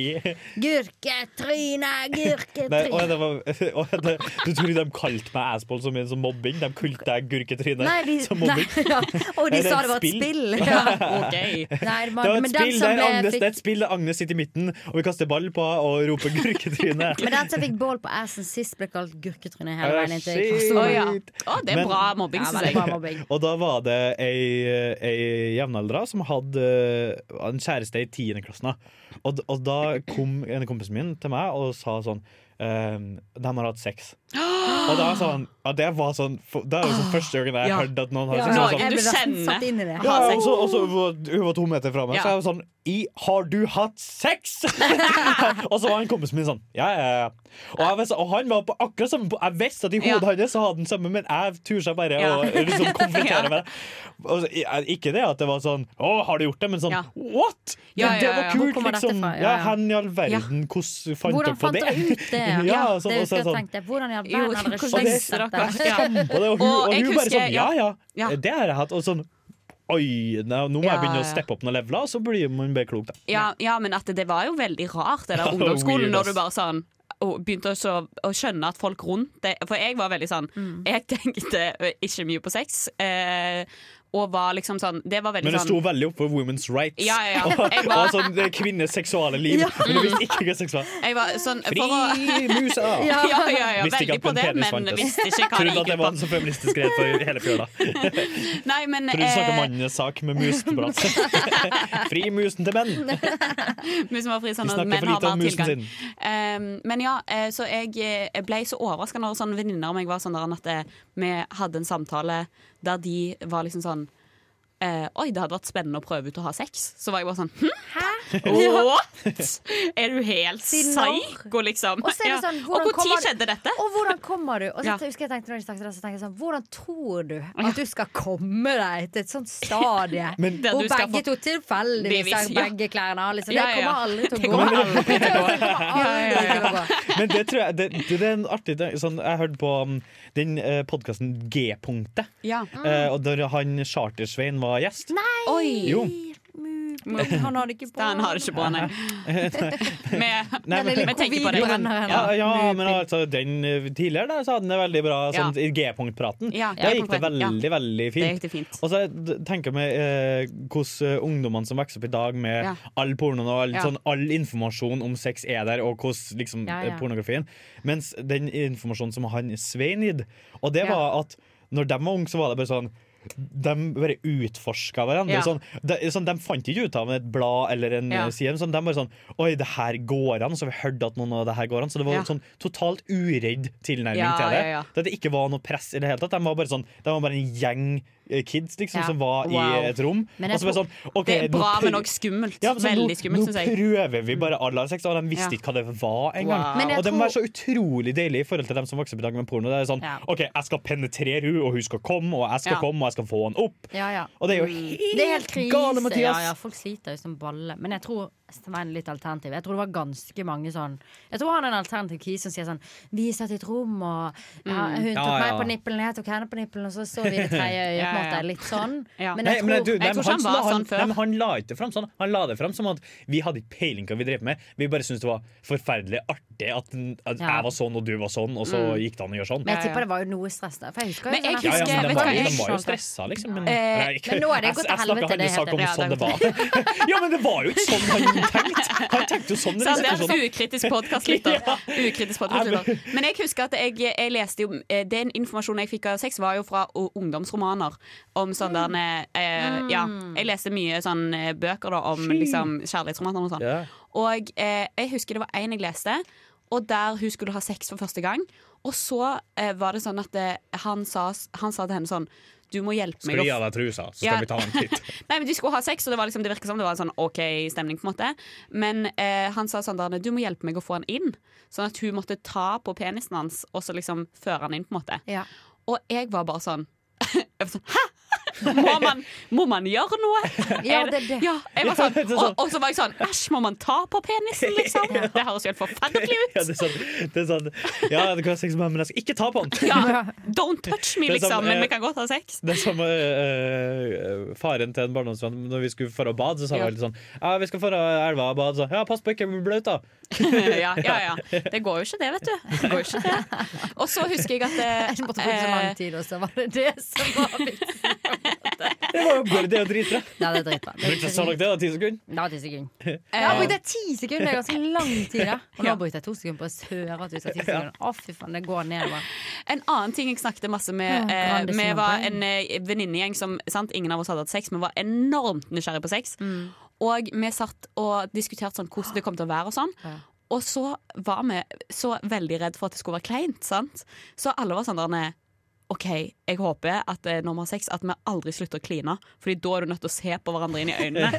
Gurketryne,
*laughs* Nei, å, ja,
gurketryne.
det var, *laughs* å, ja, det, du tror de kalte meg asball som, som mobbing? De kalte deg gurketryne
Nei, de, *laughs*
som
nei,
mobbing?
ja. Og de
Er det
sa
et
det var et spill.
spill?
Ja.
*laughs*
Ok.
Nei,
Det var
men den
et spill
som
der
ble-
Agnes,
fikk-
det er et spill der Agnes sitter i midten, og vi kaster ball på henne og roper 'gurketryne'.
*laughs* Men den som fikk bål på assen sist, ble kalt gurketryne hele
Ah,
veien inntil jeg
shit.
forsto
Å,
det.
ja. Å, det er
Men-
bra mobbing,
Ja,
synes
veldig
jeg.
bra mobbing.
*laughs* Og da var det ei, ei jevnaldra som hadde eh, en kjæreste i tiendeklassen. da. Og, d- og da kom en kompis min til meg og sa sånn ehm, De har hatt sex. Og da sa han ja, Det var sånn for- Det er jo sånn første gangen jeg
Ja.
hørte at noen har
Ja,
sex.
Nå,
Og
jeg
sånn,
ble
Du
nesten
kjenner.
satt inn i det.
ja, og så, og så hun var- hun var to meter fra meg,
Ja.
så jeg var sånn I, Har du hatt sex?! *laughs* og så var han kompisen min sånn. Ja, ja, ja. Og, jeg, visste- og han var på akkurat samme på- Jeg visste at i hodet
Ja.
hans så hadde han samme, men jeg turte bare
Ja.
å
*laughs*
liksom konfrontere
Ja.
med det. Og, så- jeg- ikke det at det var sånn Å, har du gjort det? Men sånn
Ja.
What?!
Ja,
Men det
ja, ja.
var
Hvor
kult,
kommer dette
liksom.
fra? Ja,
Ja,
ja.
hen i all verden, hvordan fant
Hvordan
dere på
fant
det?
dere ut det?
*laughs* Ja,
det
sånn, og så
husker
er det
jeg
sånn
tenkte. Hvordan i all
Jo,
verden hadde dere
hvordan
skjønt
visste
dette?
dere? Ja.
*laughs* Og, det, og hun,
Og
og
jeg
hun bare
husker-
sånn Ja, ja,
ja.
det har jeg hatt. Og sånn Oi, nei, nå må
Ja,
jeg begynne å
ja.
steppe opp noen leveler, og så blir man bedre klok, da.
Ja, ja, men at det, det var jo veldig rart,
*laughs*
det der
var
ungdomsskolen,
weird,
når
ass.
du bare sånn og begynte å, så, å skjønne at folk rundt deg For jeg var veldig sånn
Mm.
Jeg tenkte eh, ikke mye på sex. Eh, og var liksom sånn Det var veldig
Men det
sånn
sto veldig opp for women's rights.
Ja, ja, ja.
*laughs* Og, og
Jeg var-
sånn, det er kvinners seksuale liv. Men du visste ikke hva seksual
Jeg var sånn
Fri
for å,
musa!
*laughs* ja, ja, ja, ja,
Visste ikke
veldig
at
på
en
det,
penis
men
fantes.
visste ikke hva det
*laughs* Trodde at
gikk
det
ut på.
var en så feministisk grep for hele
*laughs*
fjøla. Trodde
Nei, men,
du snakka
eh,
mannenes sak med museprat.
*laughs*
Fri musen til menn!
Musen var fri, sånn
Vi
at
snakker
menn
for
har
lite om
mer
musen
tilgang.
sin.
Ehm, men ja, eh, så jeg eh, ble så overraska når sånne venninner av meg var sånn der at eh, vi hadde en samtale der de var liksom sånn eh, Oi, det hadde vært spennende å prøve ut å ha sex. Så var jeg bare sånn hm? *laughs* What?! Er du helt
Siden når?
psyko, liksom?
Og så er det sånn,
ja.
hvordan
og når
kommer det-
skjedde dette?
Og hvordan kommer du? Og så
Ja.
husker jeg tenkte når de snakket om det, så tenkte jeg sånn, Hvordan tror du at du skal komme deg til et sånt stadie
*laughs* Men-
Der
hvor
du skal
begge
få-
to tilfeldigvis
Bevis,
har
ja.
begge klærne av? Liksom.
Ja,
Det
ja, ja.
kommer aldri til å
Det
gå.
kommer aldri til å gå.
*laughs* Det kommer aldri til å gå.
Men det tror jeg Det, det er en artig ting. sånn, Jeg hørte på um, den eh, podkasten G-punktet,
Ja.
eh, og der han Charter-Svein var gjest.
Oi!
Jo.
Han hadde ikke på
Den har det ikke bra,
*laughs*
nei. *laughs*
Nei,
Den
men-
lille
Men tenk på det.
covid-brenneren.
*laughs* Ja, ja men altså, den eh, tidligere der, så hadde den det veldig bra
Ja.
sånn, i G-punktpraten.
Ja,
da gikk det
G-punktpraten, ja.
veldig, veldig
Det gikk
fint.
det fint.
Og så d- tenker jeg meg eh, hvordan eh, ungdommene som vokser opp i dag med
Ja.
all pornoen og all,
Ja.
sånn, all informasjon om sex er der, og hvordan liksom,
Ja, ja.
eh, pornografien Mens den informasjonen som han Svein gitt, og det
Ja.
var at når de var unge, så var det bare sånn de bare utforska hverandre.
Ja.
Sånn, de, sånn, de fant ikke ut av et blad eller en
Ja.
eh, side. men Sånn, de bare sånn Oi, det her går an. Så vi hørte at noen av det her går an. Så det var
Ja.
sånn totalt uredd tilnærming
Ja,
til det.
ja, ja.
At det ikke var noe press i det hele tatt. De var bare, sånn, de var bare en gjeng eh, kids liksom,
Ja.
som var
Wow.
i et rom.
Men
Og så bare
jeg
sånn ok,
Det er
nå
bra,
prøv-
men òg skummelt.
Ja, men sånn,
Veldig skummelt,
nå,
syns
nå
jeg. Mm.
prøver vi bare alle har sex, og de visste
Ja.
ikke hva det var engang.
Wow.
Men jeg
Og det
tror-
må være så utrolig deilig i forhold til dem som vokser opp i dag med porno. Det er sånn,
Ja.
ok, Jeg skal penetrere hun, og hun skal komme, og jeg skal
Ja.
komme, og jeg skal få han opp.
Ja, ja. Mm.
Og det er jo
Det er helt krise.
gale, Mathias.
ja, ja, folk sliter jo som balle. Men jeg tror Svein er litt alternativ. Jeg tror det var ganske mange sånn Jeg tror han er en alternativ kis som sier sånn Vi satt i et rom, og ja,
Mm.
hun tok
Ja,
meg
ja.
på nippelen, jeg tok henne på nippelen, og så så vi i det tredje øyet. på en
Ja, ja.
måte, Litt sånn.
Ja.
Men
Nei,
jeg
men
tror
du, nei,
jeg tror
men
ikke han
la-
var sånn før.
Nei, men han la ikke det fram sånn. Han la det fram som at vi hadde ikke peiling hva vi drev med. Vi bare syntes det var forferdelig artig at, den- at
Ja.
jeg var sånn, og du var sånn, og så
Mm.
gikk det an å gjøre sånn.
Men jeg
Ja, ja.
tipper det var jo noe stress der. For jeg husker
Men
jo
jeg
sånn
Ja, ja,
husker-
men
vet
de
du hva
var,
jeg-
de var jo stressa, liksom. Men,
Eh,
Nei, ikke-
men nå er det gått til
jeg, jeg snakka
helvete, det
hennes sak
heter
om
det.
Ja,
sånn det
det er
var. *laughs* ja, men det var jo ikke sånn han tenkte! Han tenkte jo sånn.
Så det
liksom,
er
sånn.
en ukritisk
*laughs*
podkastlytter. Ukritisk podcastlytter. Men jeg husker at jeg, jeg leste jo eh, Den informasjonen jeg fikk av sex, var jo fra o- ungdomsromaner. Om sånn
Mm.
der eh, Ja. Jeg leste mye sånn eh, bøker da, om liksom, kjærlighetsromaner og sånn.
Ja.
Og eh, jeg husker det var en jeg leste, og der hun skulle ha sex for første gang. Og så eh, var det sånn at eh, han, sa, han sa til henne sånn Du må hjelpe meg
Skli
å
av deg trusa, så
Ja.
skal vi ta en titt.
Nei, men De skulle ha sex, og det, var liksom, det virket som det var en sånn OK stemning. på en måte Men eh, han sa sånn der, du må hjelpe meg å få han inn. Sånn at hun måtte ta på penisen hans og så liksom føre han inn. på en måte
Ja.
Og jeg var bare sånn, *laughs* jeg var sånn Hæ? Må man, må man gjøre noe?
Ja,
Er
det er det.
Ja, jeg var sånn, og, og så var jeg sånn Æsj, må man ta på penisen, liksom? Det høres jo helt forferdelig
*laughs*
ut.
Ja, det er sånn, det er sånn Ja, du kan ha sex med meg, men jeg skal ikke ta på den!
Ja, Don't touch me,
Det er som,
liksom, men
eh,
vi kan godt ha sex. *laughs*
Det er som eh, eh, faren til en barndomsvenn Når vi skulle for å bade, så sa han
Ja.
alltid sånn Ja, vi skal for å elva og bade, så Ja, pass på ikke å bli bløt, da!
ja, ja, ja. Det går jo ikke det, vet du. Det går jo ikke det.
*laughs*
Og så husker jeg at eh,
Jeg måtte bruke så lang tid, og så var det det som
*laughs*
var vitsen.
Det var jo bare det å drite *laughs* deg!
Nei, det er dritbra. Det er
Brukte så langt det, da. Ti sekunder.
*laughs* Ja, ti sekunder.
eh,
Jeg har brukt det ti sekunder, det er ganske lang tid. da Og nå
Ja.
brukte jeg to sekunder på å høre at du sa ti sekunder. Å, fy faen, det går nedover.
En annen ting jeg snakket masse med
Ja,
eh,
Grandis
Vi
sine
var
barn.
en eh, venninnegjeng som sant, Ingen av oss hadde hatt sex, men var enormt nysgjerrig på sex. Og vi satt og diskuterte sånn, hvordan det kom til å være og sånn.
Ja.
Og så var vi så veldig redd for at det skulle være kleint, sant? Så alle var sånn der nei, OK, jeg håper at eh, når vi har sex, at vi aldri slutter å kline. Fordi da er du nødt til å se på hverandre inn i
*laughs*
øynene.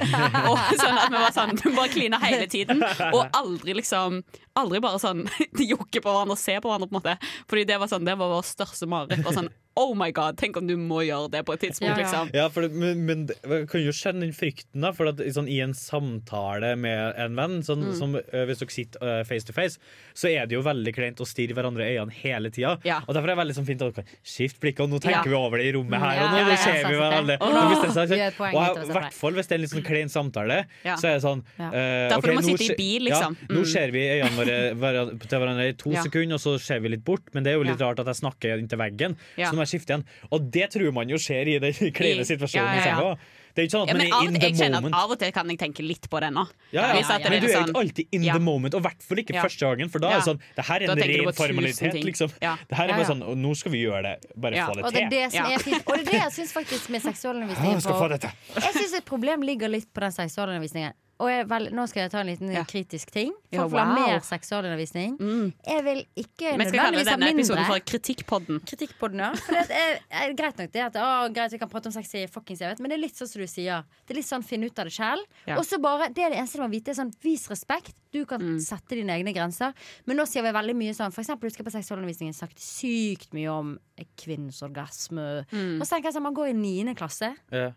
og sånn at vi var sånn, vi bare kliner hele tiden. Og aldri liksom Aldri bare sånn *laughs* jokke på hverandre og se på hverandre, på en måte. Fordi det var sånn, det var vår største mareritt. var Sånn, oh my god, tenk om du må gjøre det på et tidspunkt,
Ja, ja.
liksom.
Ja, for det, men, men det- jeg kan jo skjønne den frykten, da. For at i sånn, i en samtale med en venn, sånn,
Mm.
som, ø, hvis dere sitter ø, face to face, så er det jo veldig kleint å stirre hverandre i øynene hele tida.
Ja.
Og derfor er det veldig sånn fint at dere kan skifte blikket, og nå
Ja. Mm,
tenker vi over det i rommet her, og
Ja,
nå
ja, ja,
sånn
ser vi
sant,
hverandre.
sant, sant.
Nå bestemmer seg,
Åh, gjør et
sånn.
poeng ut
Og
av
i
det,
hvert fall hvis det er en litt sånn klein samtale,
Ja.
så er det sånn
Ja.
ø,
Derfor
ok,
du må
nå
sitte i
skje-
bil,
ja,
liksom.
Nå
Mm.
ser vi øynene
*laughs*
våre hveran- til hverandre i to
Ja.
sekunder, og så ser vi litt bort, men det er jo litt
Ja.
rart at jeg snakker inntil veggen,
Ja.
så nå må jeg skifte igjen. Og det tror man jo skjer i den
I-
kleine situasjonen.
ja, ja,
i senga.
ja.
Det er jo ikke sånn at
Ja, men
man
av,
er in
jeg
the
kjenner at
moment.
av og til kan jeg tenke litt på det nå.
Ja, ja.
Hvis at det
Men du er jo
sånn-
ikke alltid in
Ja.
the moment, og i hvert fall ikke
Ja.
første gangen. For da er det
Ja.
sånn, det her er
Da
en
tenker du på
ren
tusen
formalitet,
ting.
liksom.
Ja.
Det her er
Ja,
bare
ja.
sånn, og nå skal vi gjøre det. Bare
Ja.
få
Og det
det
er
til.
det som
Ja.
er fint. Og det er det jeg syns faktisk med seksualundervisningen på
dette.
Ah, Jeg syns et problem ligger litt på den seksualundervisningen. Og jeg, vel, nå skal jeg ta en liten
Ja.
kritisk ting. Folk
Ja,
vil ha
wow.
mer seksualundervisning. Jeg vil ikke
Vi skal kalle
nødvendigvis ha
denne episoden
mindre
for Kritikkpodden.
kritikk på den òg. Greit nok det at å, greit, vi kan prate om sex i fuckings evighet, men det er litt sånn som du sier. Det er litt sånn finn ut av det selv.
Ja. Mm.
Og så bare, det er det eneste du må vite, er sånn vis respekt. Du kan sette dine egne grenser. Men nå sier vi veldig mye sånn, for eksempel husker jeg på seksualundervisningen snakket sykt mye om kvinnens orgasme.
Mm.
Og så tenker jeg sånn, man går i 9. klasse.
Ja.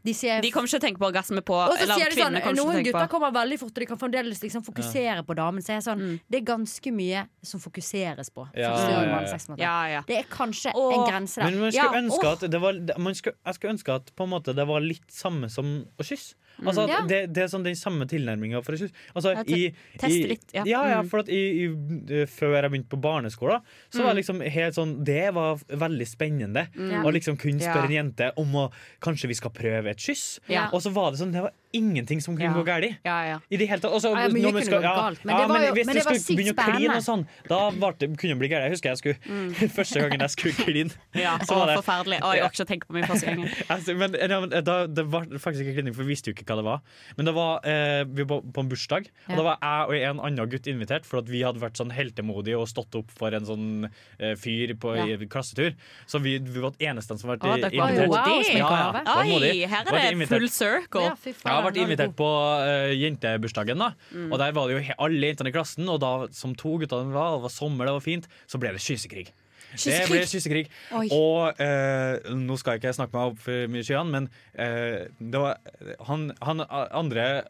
De sier
De kommer ikke til å tenke på orgasme på
og så
Eller
sier de sånn,
kvinnene kommer
Noen
ikke til å
gutter
tenke på
kommer veldig fort, og de kan fremdeles liksom fokusere på damen. Så jeg er sånn,
Mm.
Det er ganske mye som fokuseres på.
Ja,
første gang
ja,
man
ja.
har sex med
Ja,
noen.
ja.
Det er kanskje
Åh.
en grense der.
Men man skulle
Ja,
ønske
åh.
at det var, det- man skulle, Jeg skulle ønske at på en måte det var litt samme som å kysse. Altså at
Mm. Ja.
det, det er sånn den samme tilnærminga for å kysse. Altså,
Ja, te-
i,
teste
i-
litt, ja.
ja,
Mm.
for at i, i, eh, Før jeg begynte på barneskolen, så var det liksom helt sånn Det var veldig spennende
Mm.
å liksom kunne spørre
Ja.
en jente om å Kanskje vi skal prøve et kyss?
Ja.
Og så var det sånn Det var ingenting som kunne
Ja.
gå galt.
Ja, ja.
I det hele tatt. Også,
Ja, ja, mye
når man
kunne
skal,
gå
ja,
galt, men
ja,
det var
men
jo-
hvis
men
du
det var
skulle
sykt
begynne å kline og
spennende.
sånn, da var det, kunne det bli galt. Jeg husker jeg skulle
Mm.
*laughs* Første gangen jeg skulle kline,
*laughs*
Ja,
så var
å,
det
forferdelig. Å, jeg orker ikke å tenke på min første gang.
altså, men, ja, men da, Det var faktisk ikke klining, for vi visste jo ikke hva det var. Men det var eh, vi var på en bursdag,
Ja.
og da var jeg og en annen gutt invitert. For at vi hadde vært sånn heltemodige og stått opp for en sånn eh, fyr på i klassetur. Så vi, vi var den eneste som ble
Å, dere
invitert.
var
invitert.
Wow, som en
Ja, ja.
gave.
Da må de-
Oi, her
var de
er det
invitert.
full circle.
Ja, fy
Jeg har
faen,
vært
nå er det god.
invitert på eh, jentebursdagen, da. Og der var det jo he alle jentene i klassen, og da som to gutter det var, og det var sommer, det var fint, så ble det kyssekrig. Det ble kyssekrig.
Oi.
Og eh, nå skal jeg ikke snakke meg opp for mye, Skyan, men eh, det var han, han andre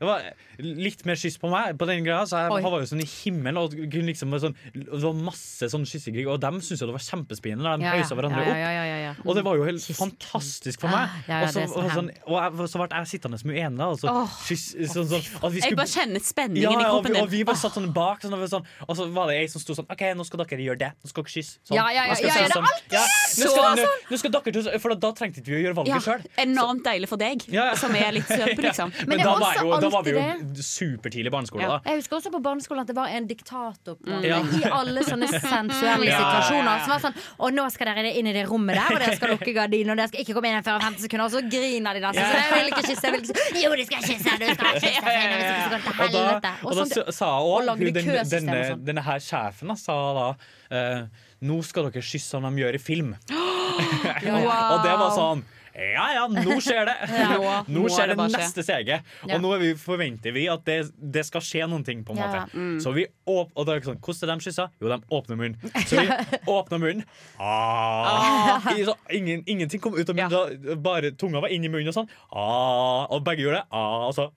det var litt mer kyss på meg, på den greia, så jeg
Oi.
han var jo sånn i himmelen. Og kunne liksom være sånn, og det var masse sånn kyssekrig, og dem syntes jo det var kjempespennende. når De
Ja, ja.
hauset hverandre
Ja,
opp.
ja, ja, ja, ja.
Og det var jo helt
Kyss.
fantastisk for meg.
Ah, ja, ja,
og så,
det er så
og sånn, og jeg, så ble jeg sittende med uenig. da, og så- kyss- sånn, sånn, at vi
Jeg
skulle-
bare kjenner spenningen
ja,
i
ja, og,
kroppen
vi,
din.
og vi bare satt sånn bak, sånn, og, vi sånn, og så var det ei som sto sånn OK, nå skal dere gjøre det. Nå skal dere kysse. Sånn.
Ja, ja, ja,
Jeg skal
ja,
si
ja, det er
sånn, ja, nå skal,
Så-
nå,
sånn.»
nå skal dere to, For da trengte vi å gjøre valget
Ja,
selv
enormt deilig for deg,
Ja, ja.
som
*laughs*
er litt søt, liksom.
Men,
det er
da, var
også
jo, da var vi jo
alltid
supertidlig i barneskolen,
Ja.
da.
Jeg husker også på barneskolen at det var en diktator på
Mm. Ja.
i alle sånne sensuelle
*laughs* Ja, ja, ja.
situasjoner. Som var sånn Og nå skal dere inn i det rommet der, og dere skal lukke gardinen, og dere skal ikke komme inn igjen før om 15 sekunder, og så griner de nesten. Så jeg vil ikke kysse, jeg vil ikke kysse. Jo, du skal kysse, du skal kysse,
Ja, ja, ja, ja.
hvis ikke så går det til
Og da,
helvete.
og da
sånn- *laughs*
s- sa
og lagde
hun denne,
køsystem
denne,
og sånn.
denne her sjefen da, sa da
*gasps*
eh, Nå skal dere kysse som de gjør i film.
Ja, ja.
*laughs* Og det var sånn Ja ja, nå skjer
*laughs*
det!
Ja,
*laughs*
nå-
nå
nå er
skjer
det
det
bare å skje.
neste steget.
Ja.
Og nå er vi, forventer vi at det, det skal skje noen ting, på en måte.
Ja, mm.
Så vi åp og da er det sånn, Hvordan er de kyssa? Jo, de åpner munnen. Så
*laughs*
vi åpner munnen. Ah. I- Så ingen, ingenting kom ut av munnen. Da, bare tunga var inni munnen, og sånn. Ah. Og begge gjorde det. Ah. Og så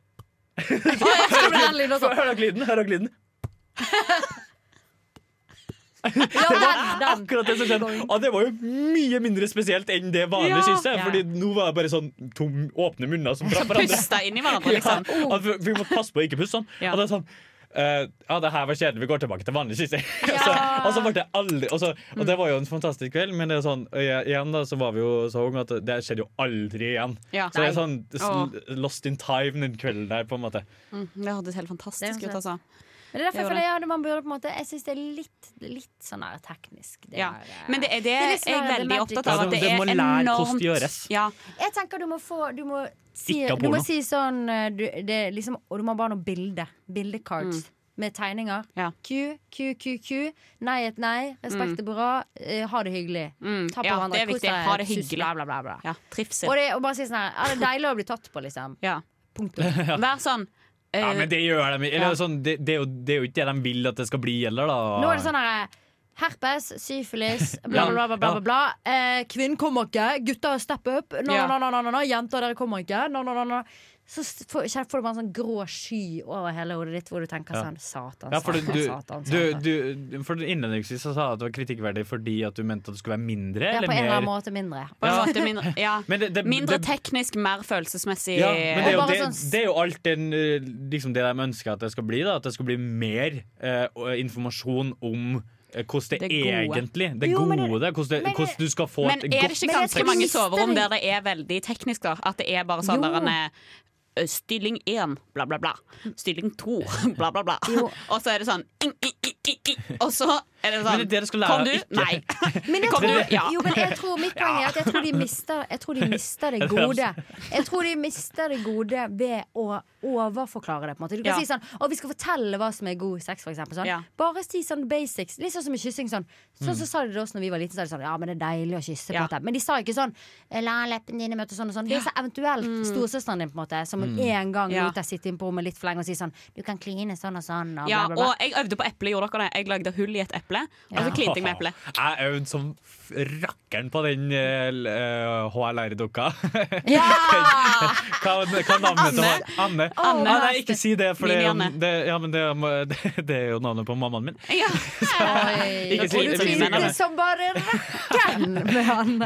Hør dere lyden! Hør dere lyden. *laughs* Det var akkurat det som skjedde. Og Ah, det var jo mye mindre spesielt enn det vanlige
Ja.
kysset. Fordi nå var det bare sånn tom, åpne munner som traff hverandre.
Pusta inn i hverandre, liksom.
Ja, Oh. at vi, vi må passe på å ikke puste sånn. Og det er sånn eh, ja, det her var kjedelig. Vi går tilbake til vanlig *laughs* kyssing. så, og så ble det aldri og, så, og
Mm.
det var jo en fantastisk kveld, men det er sånn, eh, igjen da, så var vi jo så unge at det skjedde jo aldri igjen.
Ja.
Så det er
Nei.
sånn s-
Åh.
lost in time den kvelden der, på en måte.
Mm, det hørtes helt fantastisk
Det er
ut, altså.
Men det er derfor jeg
Det gjorde
føler ja, det- man burde på en måte Jeg syns det er litt, litt sånn her teknisk. Det
Ja.
der, eh,
Men det er det
er
jeg
litt sånn
er
her,
veldig
magic.
opptatt av.
Ja, du-
At det
du
er
Altså, må lære hvordan
enormt
det gjøres.
Ja,
Jeg tenker du må få Du må si,
Ikke ha
du må
porno.
si sånn eh, du, det, er liksom, Og du må ha bare noe bilde. Bildecards. Med tegninger.
Mm. Ja.
Q, Q, Q, Q. Nei et nei. Respekt er bra. eh, ha det hyggelig.
Mm,
Ta på
ja,
hverandre.
det er
kos
viktig.
deg,
Ha det
sus,
hyggelig.
Bla, bla, bla, bla.
ja
Og,
trivsel.
det, og bare si sånn her Er det deilig å bli tatt på, liksom?
Ja.
*laughs*
Punktum.
Vær sånn eh,
Ja, men det gjør de eller
Ja.
sånn, det, det, er jo, det er jo ikke det de vil at det skal bli heller, da.
Nå er det sånn her Herpes,
*laughs*
syfilis, bla,
Ja,
bla, bla. bla, bla,
ja.
bla. Eh, kvinnen kommer ikke. Gutter, step up. No,
Ja.
no, no, no, no, no. Jenter, dere kommer ikke. No, no, no, no. Så s- får kjenn- får du bare en sånn grå sky over hele hodet ditt, hvor du tenker
Ja.
sånn Satan,
Ja, for du,
satan,
du,
satan.
du,
satan.
du, for innledningsvis så sa du at det var kritikkverdig fordi at du mente at det skulle være mindre
ja,
eller
på en eller annen
mer.
måte mindre.
på en
Ja. *laughs*
måte mindre, ja.
Men det- det-
mindre
det-
teknisk, mer følelsesmessig.
Ja, men det er, jo,
Og bare
det,
sånn-
det er jo alt den, eh, liksom det de ønsker at det skal bli. Da, at det skal bli mer eh, og informasjon om eh, hvordan det,
Det gode.
egentlig Det
Jo, men
gode,
det-
hvordan, det,
men det-
hvordan du skal få
Men
et
er det
godt
ikke
Men jeg
ganske
tror
mange
mister
soverom
de-
der det er veldig teknisk, da? At det er bare
Jo.
sånn der en eh, Stilling én, bla, bla, bla. Stilling to, *laughs* bla, bla, bla.
Jo.
Og så er det sånn ing, ing, ing, ing, ing. Og så er det sånn
Men det er det du skal lære
Kom
å
du?
ikke-
Nei.
*laughs*
Men jeg
Kom
tror,
du? Ja.
jo, men jeg tror mitt poeng er at jeg tror de mister, jeg
*laughs*
tror de mister det gode. Jeg tror de mister det gode ved å overforklare det. på en måte Du kan
Ja.
si sånn Å, vi skal fortelle hva som er god sex, for eksempel. Sånn.
Ja.
Bare si sånn basics. Litt sånn som med kyssing. Sånn Sånn som sa de det også når vi var liten. Så er det sånn, ja, men det er deilig å kysse. på en
Ja.
måte Men de sa ikke sånn La leppene dine møte sånn og sånn. Det sa eventuelt storesøsteren din, på en måte, som hun en gang
Ja.
lot deg sitte inn på rommet litt for lenge og si sånn Du kan kline sånn og sånn, og
Ja,
bla, bla, bla. *laughs*
og jeg øvde på eple, gjorde dere det? Jeg lagde hull i et eple, og så
Ja.
klinte jeg med eplet.
*laughs* Jeg øvde som f- sånn rakkeren på den uh, HLR-dukka.
Ja!
hva, *laughs* hva navnet det var? Anne.
Anne.
Ah, nei, ikke si det, for det, er jo-
Min Janne.
det, ja, men det, er jo- *laughs* det er jo navnet på mammaen min.
Ja.
Oi.
Ikke si-
Og du
ikke si
klinte
det.
som bare rakkeren med han.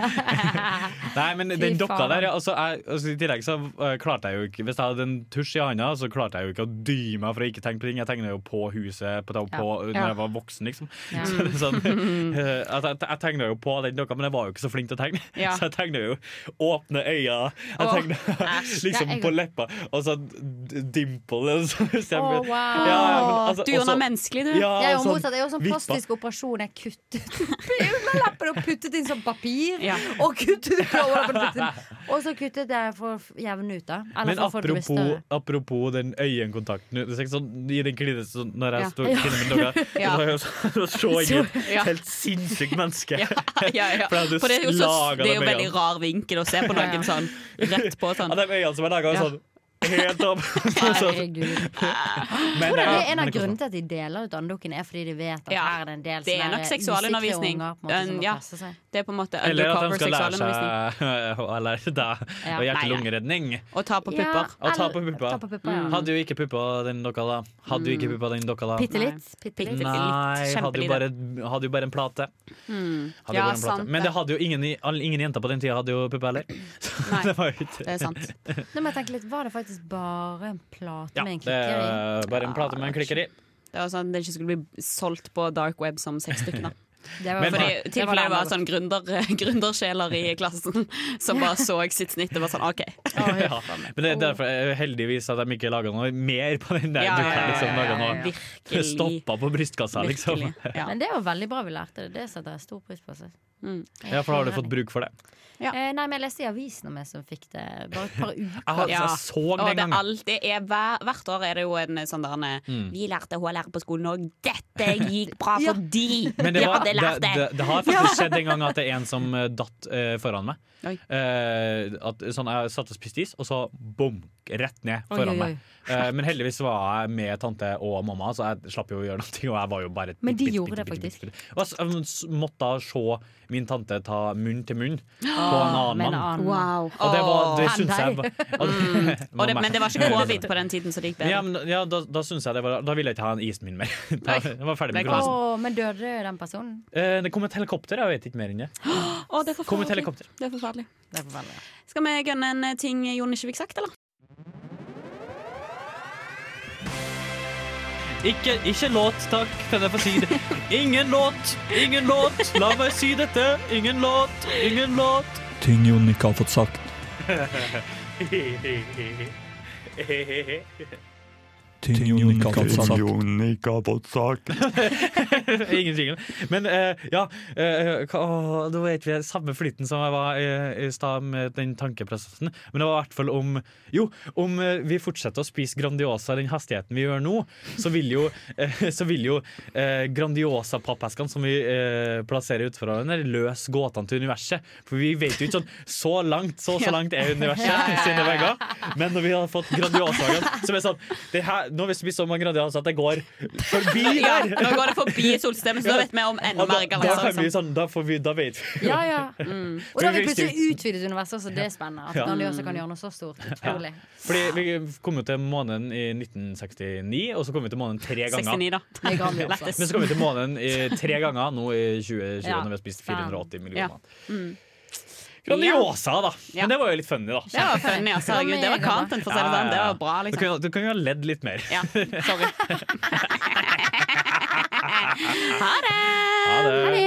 Nei, men
Fy
den dokka
faen.
der ja, altså, jeg, altså, I tillegg så eh, klarte jeg jo ikke Hvis jeg hadde en tusj i handa, så klarte jeg jo ikke å dy meg for å ikke tenke på ting. Jeg tegna jo på huset på, på,
Ja.
når
Ja.
jeg var voksen, liksom.
Ja.
*laughs* Så det er sånn,
*laughs*
eh, at jeg, jeg tegna jo på den dokka, men jeg var jo ikke så flink til å tegne. *laughs*
Ja.
Så jeg tegna jo åpne øyne, jeg
Åh,
tegna *laughs* liksom
Nei, jeg-
på leppa, og så d- dimple og så *laughs*
Å, wow.
altså,
Du gjorde
også-
noe menneskelig, du.
Ja,
Jeg er jo
sånn
motsatt. Jeg er jo sånn
vippa.
plastisk operasjon. Jeg kuttet *laughs* underleppen og puttet inn som papir.
Ja.
Og kuttet ut overleppen. og puttet inn. Og så kuttet jeg for å jevne ut, da. Eller
Men
for å få det til å bli
apropos,
større.
apropos den øyekontakten det er ikke sånn, I den klinen sånn, når jeg
Ja.
står og klinner med
*laughs*
noe
Ja.
så var jeg så- *laughs* så så jeg et
Ja.
helt sinnssykt menneske.
Ja, ja, ja.
For jeg hadde
For det er jo, så,
slaget
det er jo
dem
veldig
igjen.
rar vinkel å se på noen sånn rett på sånn.
Ja, de øynene som er laga
Ja.
sånn helt opp.
*laughs*
sånn,
Herregud. Jeg
*laughs* men,
tror det
ja,
er en av
men det sånn. kan-
grunnene til at de deler ut andukene, er fordi de vet at
Ja.
her er det en del
Det er
sånne
nok seksualundervisning.
musikre unger, på en måte, som
Um,
må
ja.
passe seg.
Det er på en måte
Eller at de
undercover
skal lære
seksualundervisning.
seg å lære deg
Ja.
og
Nei, ja.
hjerte-lungeredning.
Og ta på
Ja,
pupper.
Og ta
eller-
på puppa.
Ta på puppa ja. Mm.
Hadde jo ikke puppa den dokka da. Hadde jo ikke puppa den dokka da.
Bitte litt. Bitte
Bitte
litt.
litt.
Nei, hadde jo,
Kjempelite.
bare, hadde jo bare en plate. Hadde jo
Mm. Ja,
bare en plate.
sant
Men
det.
det hadde jo ingen, i- all- ingen jenter på den tida hadde jo puppe heller. *laughs* Så
Nei.
det var jo ikke
Det er sant.
Nå må jeg tenke litt, Var det faktisk bare en plate
ja,
med en
det er
klikker i?
bare en plate med en
Ja, det
klikker i.
Det var sånn at det ikke skulle bli solgt på dark web som
*laughs*
sexstykker. da.
Det var-
Men-
det
Fordi
var-
tilfellet det var
det
sånn gründer, *laughs* gründersjeler i klassen som bare så sitt snitt og var sånn OK.
*laughs* Ja. Men det er derfor jeg er heldigvis at de ikke laga noe mer på den der.
Oh. Ja,
Ja,
ja, ja,
liksom,
ja, ja,
laget noe-
Virkelig.
Stoppa på brystkassa, liksom.
Virkelig. Ja. Mm.
Men det var veldig bra vi lærte det. Det setter jeg stor pris på. Så.
Ja, for da har du fått bruk for det.
Ja.
Eh, nei, men Jeg leste i avisen om jeg som fikk det bare
*laughs*
et par uker.
Jeg, har-
Ja.
jeg så
Og
den
det
gangen.
er eh,
Mm.
alt, det er hver, hvert år er det jo en sånn der en, Vi lærte HLR på skolen, og dette dette gikk *laughs* bra
Ja.
fordi
Men det,
vi
var,
hadde
det,
lært det.
det, det har faktisk skjedd en gang at det er en som eh, datt eh, foran meg.
Oi.
Eh, at, sånn, jeg satt og spiste is, og så bom, rett ned
Oi,
foran
oi, oi.
meg. Eh, men heldigvis var jeg med tante og mamma, så jeg slapp jo å gjøre *laughs* noe. Og jeg var jo bare
Men de
bitte, bitte,
gjorde det
bitte, bitte,
faktisk.
bitte. Og jeg s- jeg måtte da se min tante ta munn til munn på en annen
Ah, Med en
mann.
annen
Wow.
Og det, var, det
Åh. Mm.
syns jeg
*laughs*
var-
Og det, men det var ikke
*laughs* Mamma. *laughs*
covid på den tiden, så det gikk
Ja,
bedre.
men, ja da, da syns jeg det var Da ville jeg ikke ha en isen min mer. *laughs* Da,
Nei.
jeg var ferdig
Det
med
er
Å,
kronesen.
men døde den
*laughs*
personen?
Eh, det kom et helikopter, jeg vet ikke mer enn det.
Å, det er
Kom et
forferdelig.
helikopter.
Det er forferdelig.
Det er forferdelig.
Skal vi gønne en eh, ting Jon ikke fikk sagt, eller?
Ikke, ikke låt, takk, kan jeg få si det. Ingen låt, ingen låt, la meg si dette. Ingen låt, ingen låt.
Ting Jon ikke har fått
*laughs*
sagt. Ting Jon ikke har fått sagt.
*laughs* Ingen jingle. Men eh, ja, eh, hva- åh, da vet vi samme flyten som jeg var eh, i stad med den tankeprosessen. Men det var i hvert fall om Jo, om eh, vi fortsetter å spise Grandiosa i den hastigheten vi gjør nå, så vil jo, eh, *laughs* så vil jo eh, Grandiosa-pappeskene som vi eh, plasserer utenfor hverandre, løse gåtene til universet. For vi vet jo ikke sånn Så langt, så så langt er universet *laughs* sine vegger. Men når vi har fått Grandiosaen, så er det sånn det her, Nå har vi spist så mange Grandiosa at det går forbi
Ja,
der!
nå går det forbi solstemmen, så da vet vi om enda
Og da,
mer
da, kan
galakser.
vi, sånn, da, får vi, da vet vi.
Ja, ja. Og da har vi
Men vi
plutselig utvidet universet, så det er spennende. At
Ja.
Grandiosa kan gjøre noe så stort. Utrolig.
Fordi Vi kom jo til månen i 1969, og så kom vi til månen tre ganger.
69, da.
Det er Grandiosa.
Lettest.
Men så kom vi til månen i tre ganger nå i 2020,
Ja.
når vi har spist
Faen.
480
Ja.
millioner.
Mm.
Grandiosa, da!
Ja.
Men det var jo litt funny, da.
Det var funny, altså. Herregud, det var content, for å si det sånn. Det var bra,
Du
liksom.
kan, du kan jo ha ledd litt mer.
Ja, sorry. Ha det!
Ha det.